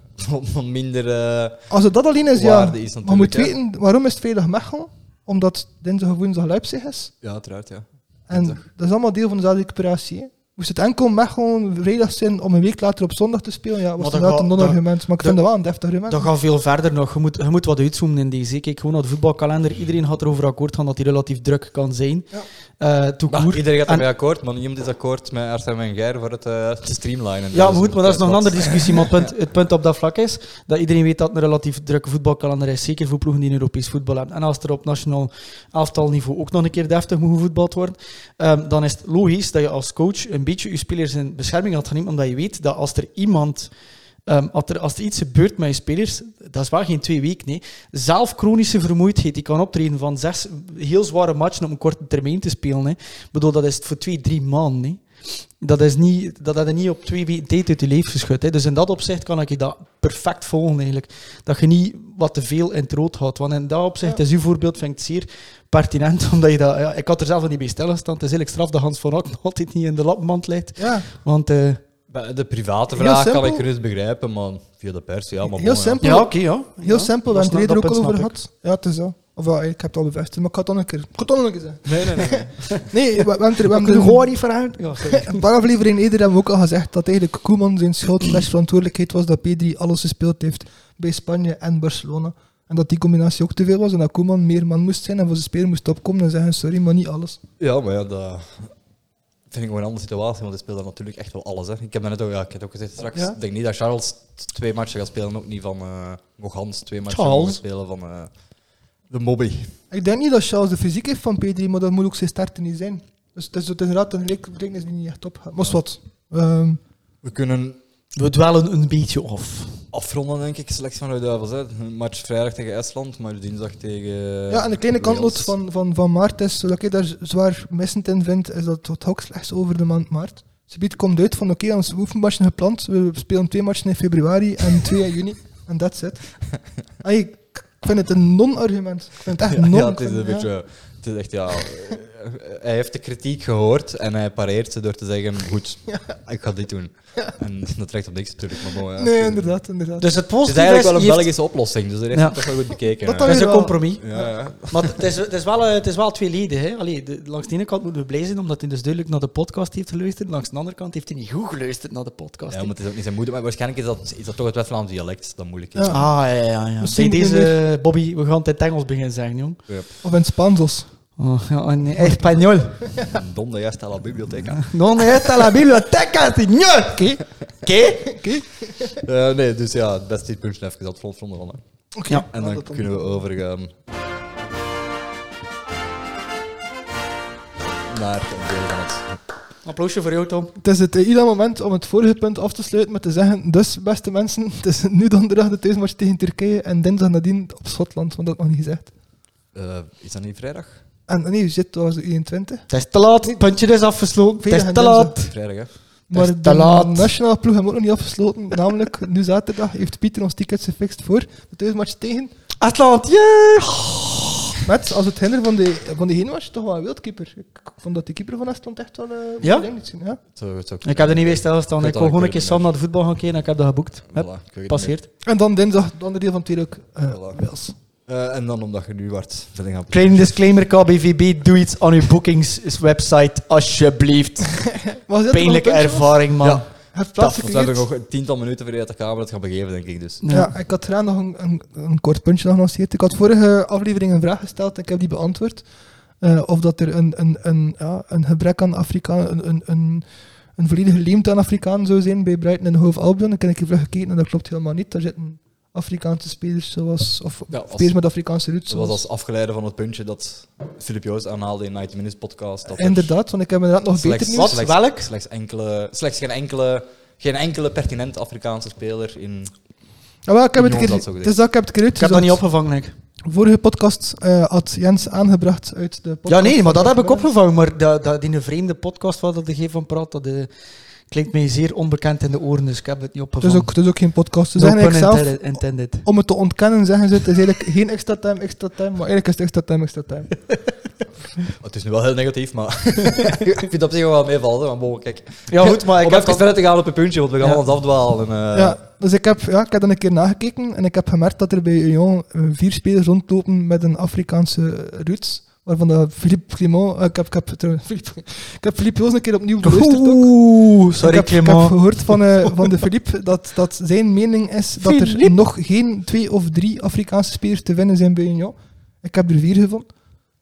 A: eh, minder... eh,
B: Als het dat alleen is, ja.
A: Waarde is
B: Maar je moet
A: natuurlijk, hè.
B: weten, waarom is het vrijdag Mechelen? Omdat dinsdag of woensdag Leipzig is.
A: ja, uiteraard, ja.
B: En
A: Dinsdag.
B: dat is allemaal deel van dezelfde recuperatie. hè. Moest het enkel Mechelen vrijdag zijn om een week later op zondag te spelen, ja, was
C: Maar
B: het
C: dat
B: inderdaad
C: gaat-
B: een non-argument. Maar ik
C: dat-
B: vind dat wel een deftig argument.
C: Dat gaat veel verder nog. Je moet, je moet wat uitzoomen in deze. Ik Kijk gewoon naar de voetbalkalender. Iedereen gaat erover akkoord gaan dat die relatief druk kan zijn.
B: Ja.
C: Eh, tout
A: Maar
C: court.
A: iedereen gaat
C: En-
A: ermee akkoord, maar niemand is akkoord met Arsène Wenger voor het eh, te streamlinen.
C: ja,
A: Dus
C: maar goed, maar dat is nog een
A: wat-
C: andere discussie. Maar het punt, het punt op dat vlak is dat iedereen weet dat het een relatief drukke voetbalkalender is. Zeker voor ploegen die een Europees voetbal hebben. En als er op nationaal elftalniveau ook nog een keer deftig moet gevoetbald worden, ehm, dan is het logisch dat je als coach een beetje je spelers in bescherming gaat gaan nemen. Omdat je weet dat als er iemand. ehm, als, er, als er iets gebeurt met je spelers, dat is wel geen twee weken. Nee. Zelf chronische vermoeidheid. Die kan optreden van zes heel zware matchen op een korte termijn te spelen. Hè. Ik bedoel, dat is het voor twee, drie maanden. Hè. Dat is niet, dat had je niet op twee weken tijd uit je leven geschud. Hè. Dus in dat opzicht kan ik je dat perfect volgen eigenlijk. Dat je niet wat te veel in het rood houdt. Want in dat opzicht
B: Ja.
C: is uw voorbeeld vind ik zeer pertinent. Omdat je dat, ja, ik had er zelf nog niet bij stilgestaan. Het is eigenlijk straf dat Hans van Aken altijd niet in de lapmand leidt.
B: Ja.
C: Want eh,
A: Bij De private
B: Heel
A: vraag kan
B: simpel.
A: ik gerust begrijpen, maar via de pers, ja, maar
B: Heel
A: bon, ja.
B: simpel.
C: ja, oké, ja.
B: Heel
C: Ja,
B: simpel, we hebben
C: dat snap-
B: het er ook
C: dat
B: al
C: punt
B: over
C: snap ik.
B: gehad. Ja, het is zo. Of ja, ik heb het al bevestigd, maar ik had het nog een keer. Ik had het nog een keer zeggen.
A: Nee, nee, nee. nee.
B: Nee, we, we hebben er, we hebben er
C: Ik hoor niet vooruit. Ja, sorry.
B: een paar afleveringen eerder hebben we ook al gezegd dat eigenlijk Koeman zijn schuld slash verantwoordelijkheid was dat P3 alles gespeeld heeft bij Spanje en Barcelona. En dat die combinatie ook te veel was en dat Koeman meer man moest zijn en voor zijn speler moest opkomen en zeggen sorry, maar niet alles.
A: Ja, maar ja, dat vind ik wel een andere situatie, want hij speelt daar natuurlijk echt wel alles. Hè. Ik heb net ook, ja, ik heb het ook gezegd straks,
B: Ja.
A: ik denk niet dat Charles t- twee matchen gaat spelen, ook niet van eh nog Hans twee matchen
C: Charles.
A: gaat spelen van eh, de Mobby.
B: Ik denk niet dat Charles de fysiek heeft van P3, maar dat moet ook zijn starten niet zijn. Dus het is, het is inderdaad een gelijk- gelijkenis die niet echt opgaat. Maar is wat. Ehm,
A: We kunnen
C: We dwalen een beetje af.
A: afronden, denk ik, slechts van de duivels. Hè. Een match vrijdag tegen IJsland, maar dinsdag tegen...
B: ja, en de
A: Wales.
B: kleine kantloot van, van, van maart is, zodat ik daar zwaar missend in vind, is dat het ook slechts over de maand maart. Subiet komt uit van oké, ons onze oefenmatchen gepland. We spelen twee matchen in februari en twee in juni. En that's it. Ai, ik ik vind het een non-argument. Ik vind het echt
A: Ja,
B: non
A: ja, het is
B: ik
A: een
B: vind- ja.
A: beetje. Het is echt, ja. eh, hij heeft de kritiek gehoord en hij pareert ze door te zeggen: Goed, ik ga dit doen. En dat trekt op niks natuurlijk. Maar bon, ja.
B: Nee, inderdaad, inderdaad.
C: Dus het
A: Het is
C: positieve
A: eigenlijk wel
C: je
A: een
C: heeft-
A: Belgische oplossing, dus dat heeft
C: Ja.
A: hij toch wel goed bekeken.
B: Dat
A: hè.
B: dan
C: Dat is een
B: Jawel.
C: compromis.
A: ja, ja.
C: Maar het is, het, is wel, eh, het is wel tweeledig. Hè? Allee, de- langs de ene kant moeten we blij zijn, omdat hij dus duidelijk naar de podcast heeft geluisterd. Langs de andere kant heeft hij niet goed geluisterd naar de podcast.
A: ja, maar het is ook niet zijn moeder. Maar waarschijnlijk is dat, is dat toch het West-Vlaams dialect dat moeilijk is.
B: Ja.
C: Ah, ja, ja. ja.
B: Misschien
C: Bij deze,
B: moeten
C: eh, Bobby, we gaan het in het Engels beginnen zeggen, jong.
A: Ja.
B: Of in Spaandels.
C: Oh, ja, en Espanol.
A: Donde juist aan la bibliotheca.
C: Non está la biblioteca, señor. ¿Qué? ¿Qué?
A: Eh, nee, dus ja, het beste puntje even dat front van. hè.
B: Oké.
C: Ja,
A: En
B: Ah,
A: dan
B: dat dan.
A: kunnen we overgaan naar een deel van het
C: Applausje voor jou, Tom.
B: Het is het ideale moment om het vorige punt af te sluiten met te zeggen: Dus, beste mensen, het is nu donderdag de thuismatch tegen Turkije en dinsdag nadien op Schotland, want dat had ik nog niet gezegd.
A: Eh, is dat niet vrijdag?
B: En nee, je zit, dat was de 21.
C: Het is te laat. Het puntje is afgesloten. Het is te laat.
A: Vrijdag, hè?
B: Maar
C: is te
B: de
C: laat.
B: nationale ploeg hebben we ook nog niet afgesloten. Namelijk, nu zaterdag heeft Pieter ons tickets gefixt voor de thuismatch tegen.
C: Atlant, yeah!
B: Met, als het hinder van de, van de heenmatch, toch wel een wildkeeper. Ik vond dat de keeper van Estland echt wel. eh,
C: Ja?
B: dingen liet zien, ja?
A: Zo, het ook-
C: Ik heb er niet bij stilgestaan. Ik
A: Goed,
C: kon gewoon een keer
A: dat
C: samen naar de voetbal gaan kijken en ik heb dat geboekt.
A: Voilà,
C: Hup,
A: ik weet het niet.
C: passeert.
B: En dan dinsdag, het andere deel van het tweede ook. eh,
A: Voilà.
B: Wales.
A: Eh, en dan omdat je nu wordt. verder gaan-
C: Kleine disclaimer, KBVB, doe iets aan uw boekingswebsite, alsjeblieft.
B: Was dit
C: Pijnlijke
B: nog een puntje?
C: ervaring, man.
A: Ja.
B: Het
A: Want
B: plaatsen
A: we hebben nog een tiental minuten voordat de camera het gaat begeven, denk ik. Dus.
B: Ja. ik had graag nog een, een, een kort puntje gelanceerd. Ik had vorige aflevering een vraag gesteld en ik heb die beantwoord. Eh, of dat er een, een, een, ja, een gebrek aan Afrikaan, een, een, een, een volledige leemte aan Afrikaan zou zijn bij Brighton en Hove Albion. Dan heb ik even gekeken en dat klopt helemaal niet. Daar zitten Afrikaanse spelers zoals, of
A: Ja, als-
B: spelers met Afrikaanse roots.
A: Dat was
B: zoals-
A: als afgeleide van het puntje dat Filip Joost aanhaalde in 90 Minutes podcast. Dat er
B: Inderdaad, want ik heb inderdaad nog
A: slechts,
B: beter nieuws.
C: Wat?
A: Slechts,
C: Welk?
A: Slechts, enkele, slechts geen, enkele, geen enkele pertinent Afrikaanse speler in.
B: Ah, wel, ik heb
A: Union
B: het een keer-
A: had dat zo
B: het is dat ik heb het een keer
C: Ik heb dat niet
B: uitgezocht.
C: opgevangen, ik.
B: Vorige podcast eh, had Jens aangebracht uit de podcast.
C: Ja, nee, maar dat
B: van
C: heb ik
B: Brighton.
C: opgevangen. Maar dat, dat, die vreemde podcast waar dat de G van praat, dat eh, klinkt mij zeer onbekend in de oren, dus ik heb het niet
B: Het is
C: opgevangen.
B: ook, het is ook geen podcast. Het
C: No
B: is eigenlijk
C: pun
B: zelf
C: intended- intended.
B: om het te ontkennen zeggen ze het is eigenlijk geen extra time, extra time, maar eigenlijk is het extra time, extra time.
A: Oh, Het is nu wel heel negatief, maar ik vind het op zich wel meevallen. Maar bon, kijk.
C: Ja, goed, maar ik
A: Om
C: heb
A: even
C: dat-
A: verder te gaan op een puntje, want we gaan
C: Ja.
A: alles afdwalen. En, eh,
B: ja, dus ik heb, ja, ik heb dan een keer nagekeken en ik heb gemerkt dat er bij Union eh, vier spelers rondlopen met een Afrikaanse eh, roots. Waarvan dat Philippe Clément, eh, ik heb, ik heb, trouwens, Philippe, ik heb Philippe Joos een keer opnieuw beluisterd. ook.
C: Oeh, sorry,
B: ik, heb, ik heb
C: Clément.
B: gehoord van, eh, van de Philippe dat, dat zijn mening is dat er
C: Philippe.
B: nog geen twee of drie Afrikaanse spelers te winnen zijn bij Union. Ik heb er vier gevonden.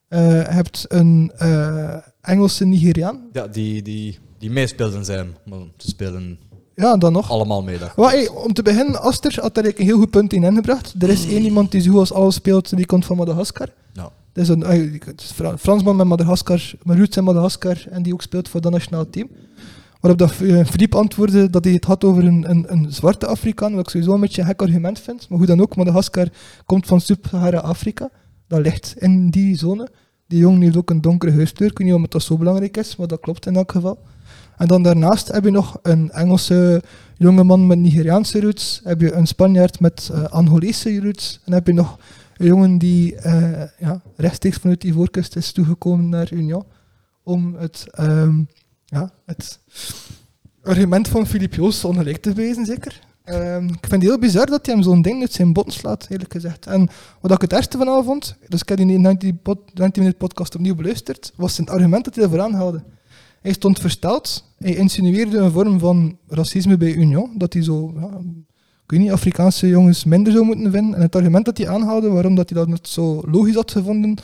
B: Eh, Je hebt een eh, Engelse Nigeriaan.
A: ja, die, die, die meespeelden zijn. Maar ze spelen
B: Ja, dan nog.
A: allemaal mee. dat-
B: Wel, hey, om te beginnen, Aster had daar eigenlijk een heel goed punt in ingebracht. Er is één iemand die zo goed als alles speelt, die komt van Madagaskar.
A: Ja.
B: Dat is een eh, het is Fra- Fransman met Madagaskar, met roots in Madagaskar, en die ook speelt voor dat nationale team. Waarop dat eh, Philippe antwoordde dat hij het had over een, een, een zwarte Afrikaan, wat ik sowieso een beetje een gek argument vind. Maar hoe dan ook, Madagaskar komt van Sub-Sahara-Afrika. Dat ligt in die zone. Die jongen heeft ook een donkere huidskleur. Ik weet niet of dat zo belangrijk is, maar dat klopt in elk geval. En dan daarnaast heb je nog een Engelse jongeman met Nigeriaanse roots. Heb je een Spanjaard met eh, Angolese roots. En heb je nog een jongen die eh, ja, rechtstreeks vanuit die voorkust is toegekomen naar Union. Om het, ehm, ja, het argument van Filip Joos ongelijk te wezen, zeker. Ehm, ik vind het heel bizar dat hij hem zo'n ding uit zijn bot slaat, eerlijk gezegd. En wat ik het ergste van al vond, dus ik heb die 90 pod- 90 minute podcast opnieuw beluisterd, was zijn argument dat hij ervoor aanhaalde. Hij stond versteld. Hij insinueerde een vorm van racisme bij Union. Dat hij zo, ja, ik weet niet, Afrikaanse jongens minder zou moeten vinden. En het argument dat hij aanhaalde, waarom dat hij dat net zo logisch had gevonden,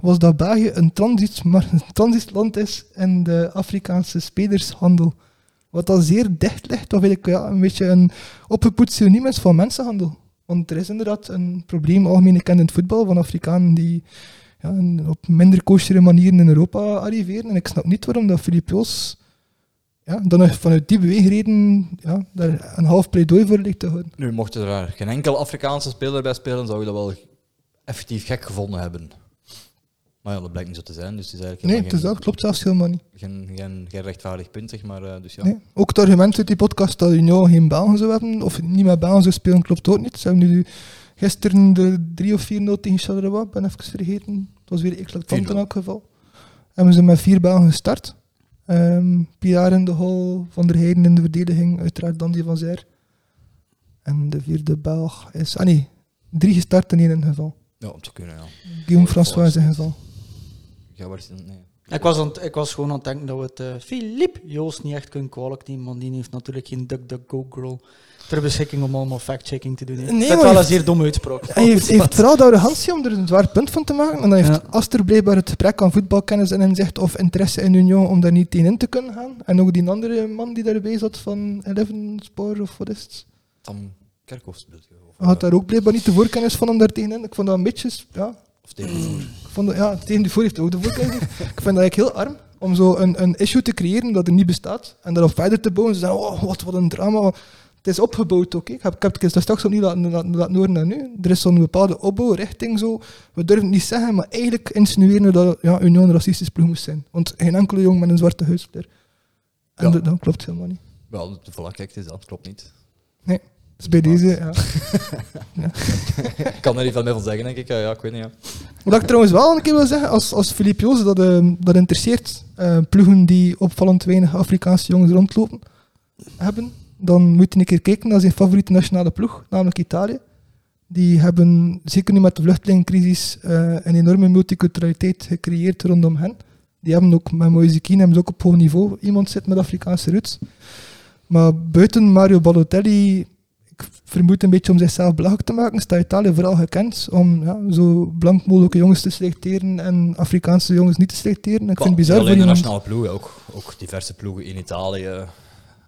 B: was dat België een, transit, maar een transitland is in de Afrikaanse spelershandel. Wat dan zeer dicht ligt, of eigenlijk ja, een beetje een opgepoetst synoniem is van mensenhandel. Want er is inderdaad een probleem algemeen gekend in het voetbal van Afrikanen die ja, en op minder koosjere manieren in Europa arriveren. En ik snap niet waarom dat Filip Joos ja, dan nog vanuit die beweegreden ja, daar een half pleidooi voor ligt te houden.
A: Nu, mocht er daar geen enkel Afrikaanse speler bij spelen, zou je dat wel effectief gek gevonden hebben. Maar ja, dat blijkt niet zo te zijn, dus het is eigenlijk
B: Nee,
A: helemaal
B: het is
A: geen,
B: dat, het klopt zelfs helemaal niet.
A: geen, geen, geen rechtvaardig punt, zeg maar. eh, Dus ja.
B: Nee. Ook het argument uit die podcast dat Union geen Belgen zou hebben, of niet met Belgen zou spelen, klopt ook niet. Ze hebben nu gisteren de 3 of 4-0 tegen Charleroi, ik ben even vergeten. Het was weer eclatant in
A: 4-0.
B: elk geval. Hebben ze met vier Belgen gestart. Ehm Pilar in de hol, Van der Heijden in de verdediging, uiteraard Dandy van Zijr. En de vierde Belg is... Ah nee, drie gestart in één geval.
A: Ja, om te kunnen, ja.
B: Guillaume François in geval.
A: Ja, waar is het? Nee.
C: Ik was, aan het- ik was gewoon aan het denken dat we het eh Filip Joost niet echt kunnen kwalijk nemen, want die heeft natuurlijk geen DuckDuckGo girl ter beschikking om allemaal fact-checking te doen. hè.
B: Nee,
C: dat is
B: maar
C: wel een
B: heeft-
C: zeer domme uitspraak.
B: Hij heeft, heeft vooral de arrogantie om er een zwaar punt van te maken. En dan heeft
C: Ja.
B: Aster blijkbaar het gebrek aan voetbalkennis en inzicht of interesse in Union om daar niet tegen in te kunnen gaan. En ook die andere man die daarbij zat van Eleven Spoor of wat is het,
A: Tam Kerkhoffs bedoel je? Of,
B: had
A: eh,
B: daar ook blijkbaar niet de voorkennis van om daar tegen in. Ik vond dat een beetje, ja,
A: of Steven Voer?
B: ik vond dat, ja tegen de voor heeft hij ook de voorkennis. ik vind dat eigenlijk heel arm om zo een, een issue te creëren dat er niet bestaat en daarop verder te bouwen. Ze zeggen, oh, wat, wat een drama. Het is opgebouwd ook. hè. Ik heb, ik heb het daar straks opnieuw laten, laten, laten horen dan nu. Er is zo'n bepaalde opbouw, richting zo. We durven het niet zeggen, maar eigenlijk insinueren we dat ja, Union een racistisch ploeg moest zijn. Want geen enkele jong met een zwarte huidskleur. En
A: Ja.
B: dat, dat klopt helemaal niet.
A: Wel, voilà, kijk, het is dat, klopt niet.
B: Dus bij deze, ja.
A: Ik kan er niet veel meer van zeggen, denk ik. Ja, ja, ik weet niet. Ja.
B: Wat ik trouwens wel een keer wil zeggen, als, als Filip Joos dat, ehm, dat interesseert, eh, ploegen die opvallend weinig Afrikaanse jongens rondlopen hebben, dan moet je een keer kijken naar zijn favoriete nationale ploeg, namelijk Italië. Die hebben, zeker nu met de vluchtelingencrisis, eh, een enorme multiculturaliteit gecreëerd rondom hen. Die hebben ook met Moise Kean hebben ze ook op hoog niveau iemand zit met Afrikaanse roots. Maar buiten Mario Balotelli ik vermoed een beetje om zichzelf belachelijk te maken, staat Italië vooral gekend om ja, zo blank mogelijke jongens te selecteren en Afrikaanse jongens niet te selecteren. Ik
A: Bah,
B: vind het
A: niet
B: bizar voor
A: alleen de
B: iemand...
A: nationale ploegen, ook, ook diverse ploegen in Italië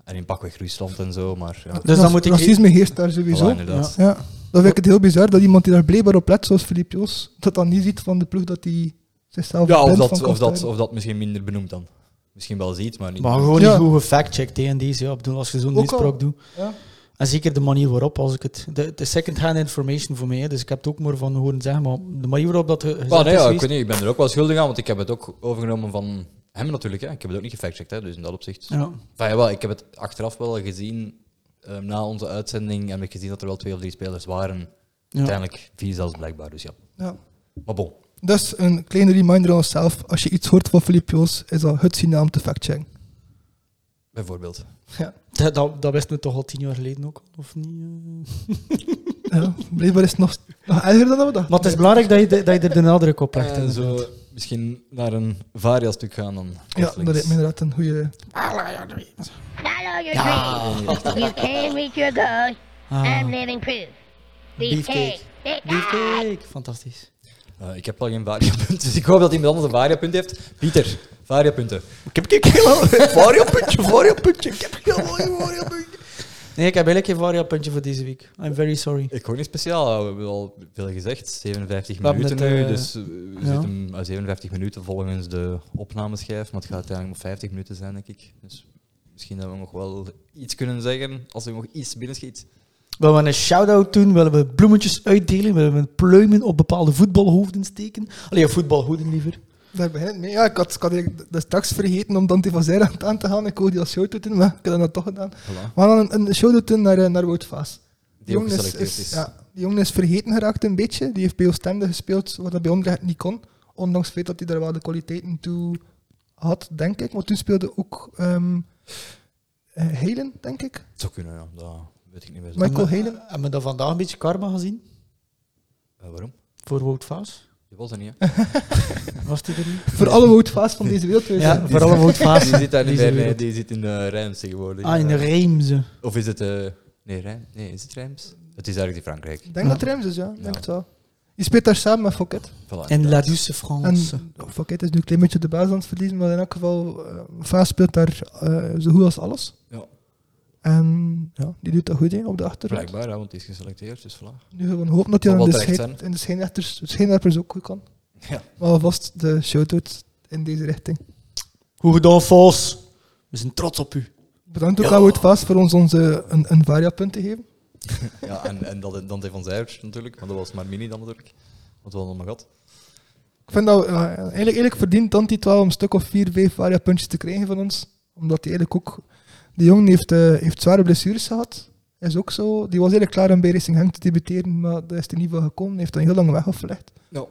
A: en in pakweg Rusland en zo. Maar ja,
C: Dus dan moet ik-
B: Racisme heerst daar sowieso.
A: voilà, inderdaad.
B: Ja, dan vind ik het heel bizar dat iemand die daar blijkbaar op let, zoals Filip Joos, dat dan niet ziet van de ploeg dat hij zichzelf
A: Ja, of
B: blind
A: dat,
B: van kan
A: of, dat,
B: stellen.
A: of dat misschien minder benoemd dan. Misschien wel ziet, maar niet.
C: Maar gewoon
B: Ja.
C: niet goed gefact-checkt hè, in deze. Ja. Ik bedoel, als je zo'n
B: Ook al-
C: uitspraak doet.
B: Ja.
C: En zeker de manier waarop, als ik het. De, de second-hand information voor mij, hè, dus ik heb het ook maar van horen zeggen, maar de manier waarop dat. ge- gezegd
A: Bah, nee, ja,
C: is
A: ik
C: geweest-
A: weet niet, ik ben er ook wel schuldig aan, want ik heb het ook overgenomen van hem natuurlijk. Hè. Ik heb het ook niet gefactcheckt, hè, dus in dat opzicht.
C: Ja.
A: Enfin, jawel, ik heb het achteraf wel gezien eh, na onze uitzending. Heb ik gezien dat er wel twee of drie spelers waren.
C: Ja.
A: Uiteindelijk vier zelfs blijkbaar, dus ja.
B: Ja.
A: Maar bon.
B: Dus een kleine reminder aan onszelf, als je iets hoort van Filip Joos, is dat het signaal om te factchecken.
A: Bijvoorbeeld.
B: Ja.
C: Dat, dat, dat wisten we toch al tien jaar geleden ook, of niet? eh?
B: ja, blijkbaar is het nog, nog erger dan we dachten.
C: Maar het is belangrijk dat je, de- dat je er de nadruk op legt.
A: en
C: inderdaad.
A: Eh, zo misschien naar een varia-stuk gaan dan.
B: Ja, dat
A: is
B: lijkt me inderdaad een goede
D: Follow your dreams. You can reach your goals.
C: Uh-huh. Ah.
D: I'm living proof.
C: Beefcake.
D: Beefcake. Beefcake.
C: Beefcake. Fantastisch.
A: Eh, ik heb al geen varia-punt, dus ik hoop dat iemand anders een varia-punt heeft. Pieter, varia-punten.
C: Ik heb geen Vario-puntje, vario-puntje. Ik heb geen vario-puntje. Nee, ik heb eigenlijk geen vario-puntje voor deze week. I'm very sorry.
A: Ik hoor niet speciaal, ja, we hebben al veel gezegd. 57
C: We hebben
A: minuten
C: het,
A: nu,
C: eh,
A: dus eh, we
C: ja.
A: zitten aan 57 minuten volgens de opnameschijf. Maar het gaat uiteindelijk maar 50 minuten zijn, denk ik. Dus misschien dat we nog wel iets kunnen zeggen als er nog iets binnenschiet.
C: Willen we een shout-out doen? Willen we bloemetjes uitdelen? Willen we pluimen op bepaalde voetbalhoofden steken? Allee, ja, voetbalhoeden liever.
B: Daar begint het mee. Ja, ik had, ik had eigenlijk dat straks vergeten om Dante van Zijra aan te gaan. Ik wou die als show doen, maar ik heb dat nou toch gedaan.
A: Voilà.
B: We gaan dan een, een show doen naar, eh, naar Wout Vaas.
A: Die ook geselecteerd is.
B: dus Ja, die jongen is vergeten geraakt een beetje. Die heeft bij Oostende gespeeld, wat dat bij Omdrecht niet kon. Ondanks het feit dat hij daar wel de kwaliteiten toe had, denk ik. Maar toen speelde ook ehm eh, Helen, denk ik.
A: Het zou kunnen, ja. dat weet ik niet meer. zo.
B: Michael
C: Maar-
B: Helen.
C: Hebben we dan vandaag een beetje karma gezien?
A: Eh, waarom?
C: Voor Wout Vaas?
A: Je was er niet, hè?
C: Was die er niet?
B: Voor alle Wout Vaas van deze wereld. wij zijn-
C: Ja, vooral Wout Vaas.
A: Die zit daar niet
C: Die
A: bij,
C: is
A: nee,
C: er
A: die zit in de Rijms tegenwoordig. Eh,
C: Ah, in de Reemse.
A: Of is het... eh, nee, Rijms? Nee, is het Rijms? Het is eigenlijk in Frankrijk.
B: Ik denk dat Rems is, ja. Ik
A: Ja.
B: denk het wel. Je speelt daar samen met Fouquet.
A: Voilà,
C: En La
A: inderdaad.
C: Douce France.
B: En oh, fuck, het is nu een klein beetje de baas aan het verliezen, maar in elk geval, eh Vaas speelt daar eh, zo goed als alles.
A: Ja.
B: En ja, die doet dat goed hè, op de achtergrond.
A: Blijkbaar, ja, want die is geselecteerd, dus voilà.
B: Nu gewoon hopen dat hij
A: Zal
B: dan in de,
A: wel terecht
B: schijn-
A: zijn.
B: in de schijnrechters, schijnwerpers ook goed kan.
A: Ja.
B: Maar alvast de shout-out in deze richting.
C: Goed gedaan, Fos. We zijn trots op u.
B: Bedankt ook
C: Ja.
B: aan Wout Vaas voor ons onze, een, een variapunt te geven.
A: Ja, en, en dat, Dante van Zijvers natuurlijk, maar dat was maar mini dan natuurlijk. Want we hadden nog maar gehad.
B: Ik vind dat we- ja, eigenlijk, eigenlijk verdient Tanti het wel om een stuk of vier, vijf variapuntjes te krijgen van ons. Omdat hij eigenlijk ook... Die jongen heeft, eh, heeft zware blessures gehad. Is ook zo. Die was eigenlijk klaar om bij Racing Genk te debuteren, maar daar is hij niet van gekomen. Hij heeft dan heel lang weg afgelegd.
A: Ja.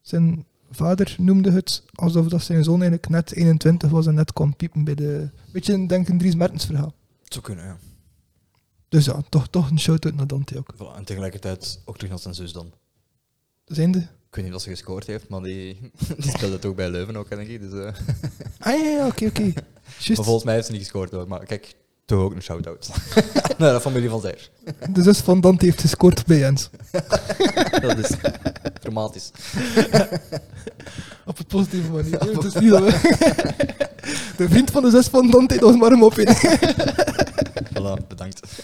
B: Zijn vader noemde het alsof dat zijn zoon eigenlijk net 21 was en net kwam piepen bij de... Beetje een denk een Dries Mertens verhaal.
A: Het zou kunnen, ja.
B: Dus ja, toch, toch een shout-out naar Dante ook.
A: Voilà, en tegelijkertijd ook terug naar zijn zus dan.
B: Zijn de...
A: Ik weet niet of ze gescoord heeft, maar die, die speelde toch bij Leuven ook, denk ik. Dus, eh.
B: Ah ja, ja, oké, oké. Juist.
A: Maar volgens mij heeft ze niet gescoord hoor. Maar kijk, toch ook een shout-out. nee, de familie van Zijvers.
B: De zus van Dante heeft gescoord bij Jens.
A: Dat is dramatisch.
B: Op een positieve manier. hè, want Het is niet dat we- De vriend van de zus van Dante, dat was maar een mopje.
A: Voilà, bedankt.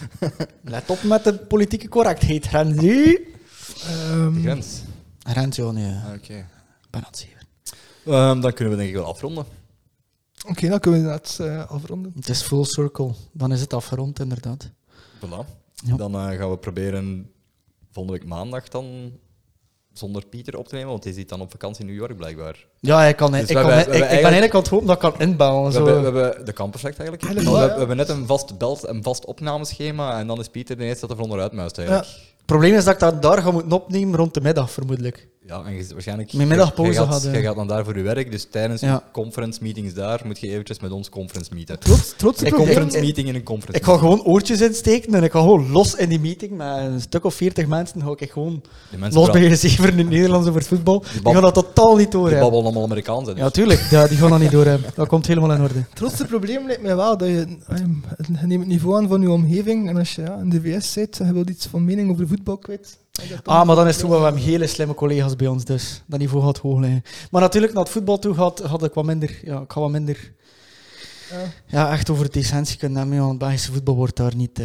C: Let op met de politieke correctheid, Renzi.
A: De
B: Ehm,
A: grens.
C: Renzi, oh nee.
A: Oké.
C: Ik ben aan het zeven.
A: Ehm, dan kunnen we denk ik wel afronden.
B: Oké, dan kunnen we dat eh, afronden.
C: Het is full circle. Dan is het afgerond, inderdaad.
A: Voilà.
C: Ja.
A: Dan eh, gaan we proberen volgende week maandag dan zonder Pieter op te nemen, want hij zit dan op vakantie in New York blijkbaar.
C: Ja, ik, kan,
A: Dus
C: ik,
A: we
C: kan,
A: hebben- we
C: ik,
A: hebben
C: ik ben eigenlijk aan het hopen dat ik kan inbellen.
A: We
C: Zo.
A: hebben, we hebben de kamp perfect eigenlijk.
B: Eigenlijk
A: Want
B: wel,
A: we,
B: ja.
A: we hebben net een vast belt, een vast opnameschema en dan is Pieter de eerste dat er onderuit muist eigenlijk. Ja.
C: Het probleem is dat ik dat daar ga moeten opnemen rond de middag, vermoedelijk.
A: en je- waarschijnlijk.
C: Mijn middagpauze
A: jij gaat,
C: hadden.
A: jij gaat dan daar voor je werk, dus tijdens
C: Ja.
A: conference meetings daar moet je eventjes met ons conference meeten.
B: Trots, trots.
A: Een
C: Ik-
A: conference
C: ik-
A: meeting in een conference.
C: Ik ga gewoon oortjes insteken en ik ga gewoon los in die meeting. Met een stuk of veertig mensen ga ik gewoon
A: De mensen
C: los bij
A: praten-
C: je zeven in Nederland over voetbal. Die,
A: bab-
C: gaan dat totaal niet
A: die
C: doorhebben.
A: babbelen allemaal Amerikaans. hè, dus.
C: Ja, tuurlijk. Ja, die gaan dat niet doorhebben. Dat komt helemaal in orde.
B: Het grootste probleem lijkt mij wel dat je, ehm, je neemt het niveau aan van je omgeving en als je ja, in de VS zit en je wilt iets van mening over voetbal kwijt. dan is dat toch-
C: Ah, maar dan is het goed, want we hebben hele slimme collega's bij ons, dus dat niveau gaat hoog liggen. Maar natuurlijk, naar het voetbal toe gaat, had ik wat minder, ja, ik ga wat minder
B: Ja.
C: ja, echt over decentie kunnen hebben, want Belgische voetbal wordt daar niet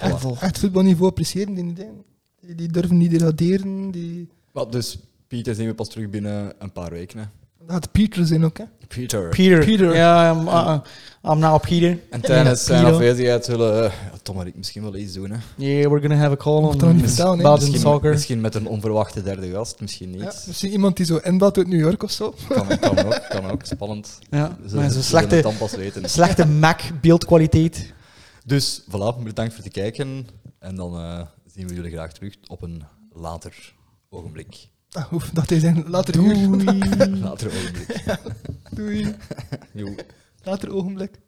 C: eh vol.
B: Echt voetbalniveau appreciëren die niet dingen. Die, die durven niet degraderen. Die...
A: Wel, dus Pieter zien we pas terug binnen een paar weken. Hè.
B: Dat gaat Peter zijn ook, hè.
A: Pieter.
C: Peter.
B: Peter.
C: Ja, I'm, uh, I'm now Peter.
A: En tijdens zijn
C: Pieter.
A: afwezigheid zullen eh, ja, Tom en ik misschien wel iets doen. Hè.
C: Yeah, we're gonna have a call
B: Mocht dat
C: on
B: niet vertellen, hè.
C: Belgian
A: Misschien,
C: soccer.
A: misschien met een onverwachte derde gast, misschien niet.
B: Ja, misschien iemand die zo inbelt uit New York of zo.
A: Kan, kan ook, kan ook. Spannend.
C: Ja,
A: We zullen-
C: maar
A: we
C: zo'n
A: zullen het
C: slechte,
A: dan pas weten.
C: slechte Mac-beeldkwaliteit.
A: Dus voilà, bedankt voor het kijken. En dan eh, zien we jullie graag terug op een later ogenblik.
B: Ah, oef, dat is een later uur.
A: Later ogenblik.
B: Doei.
A: Joe.
B: Later ogenblik.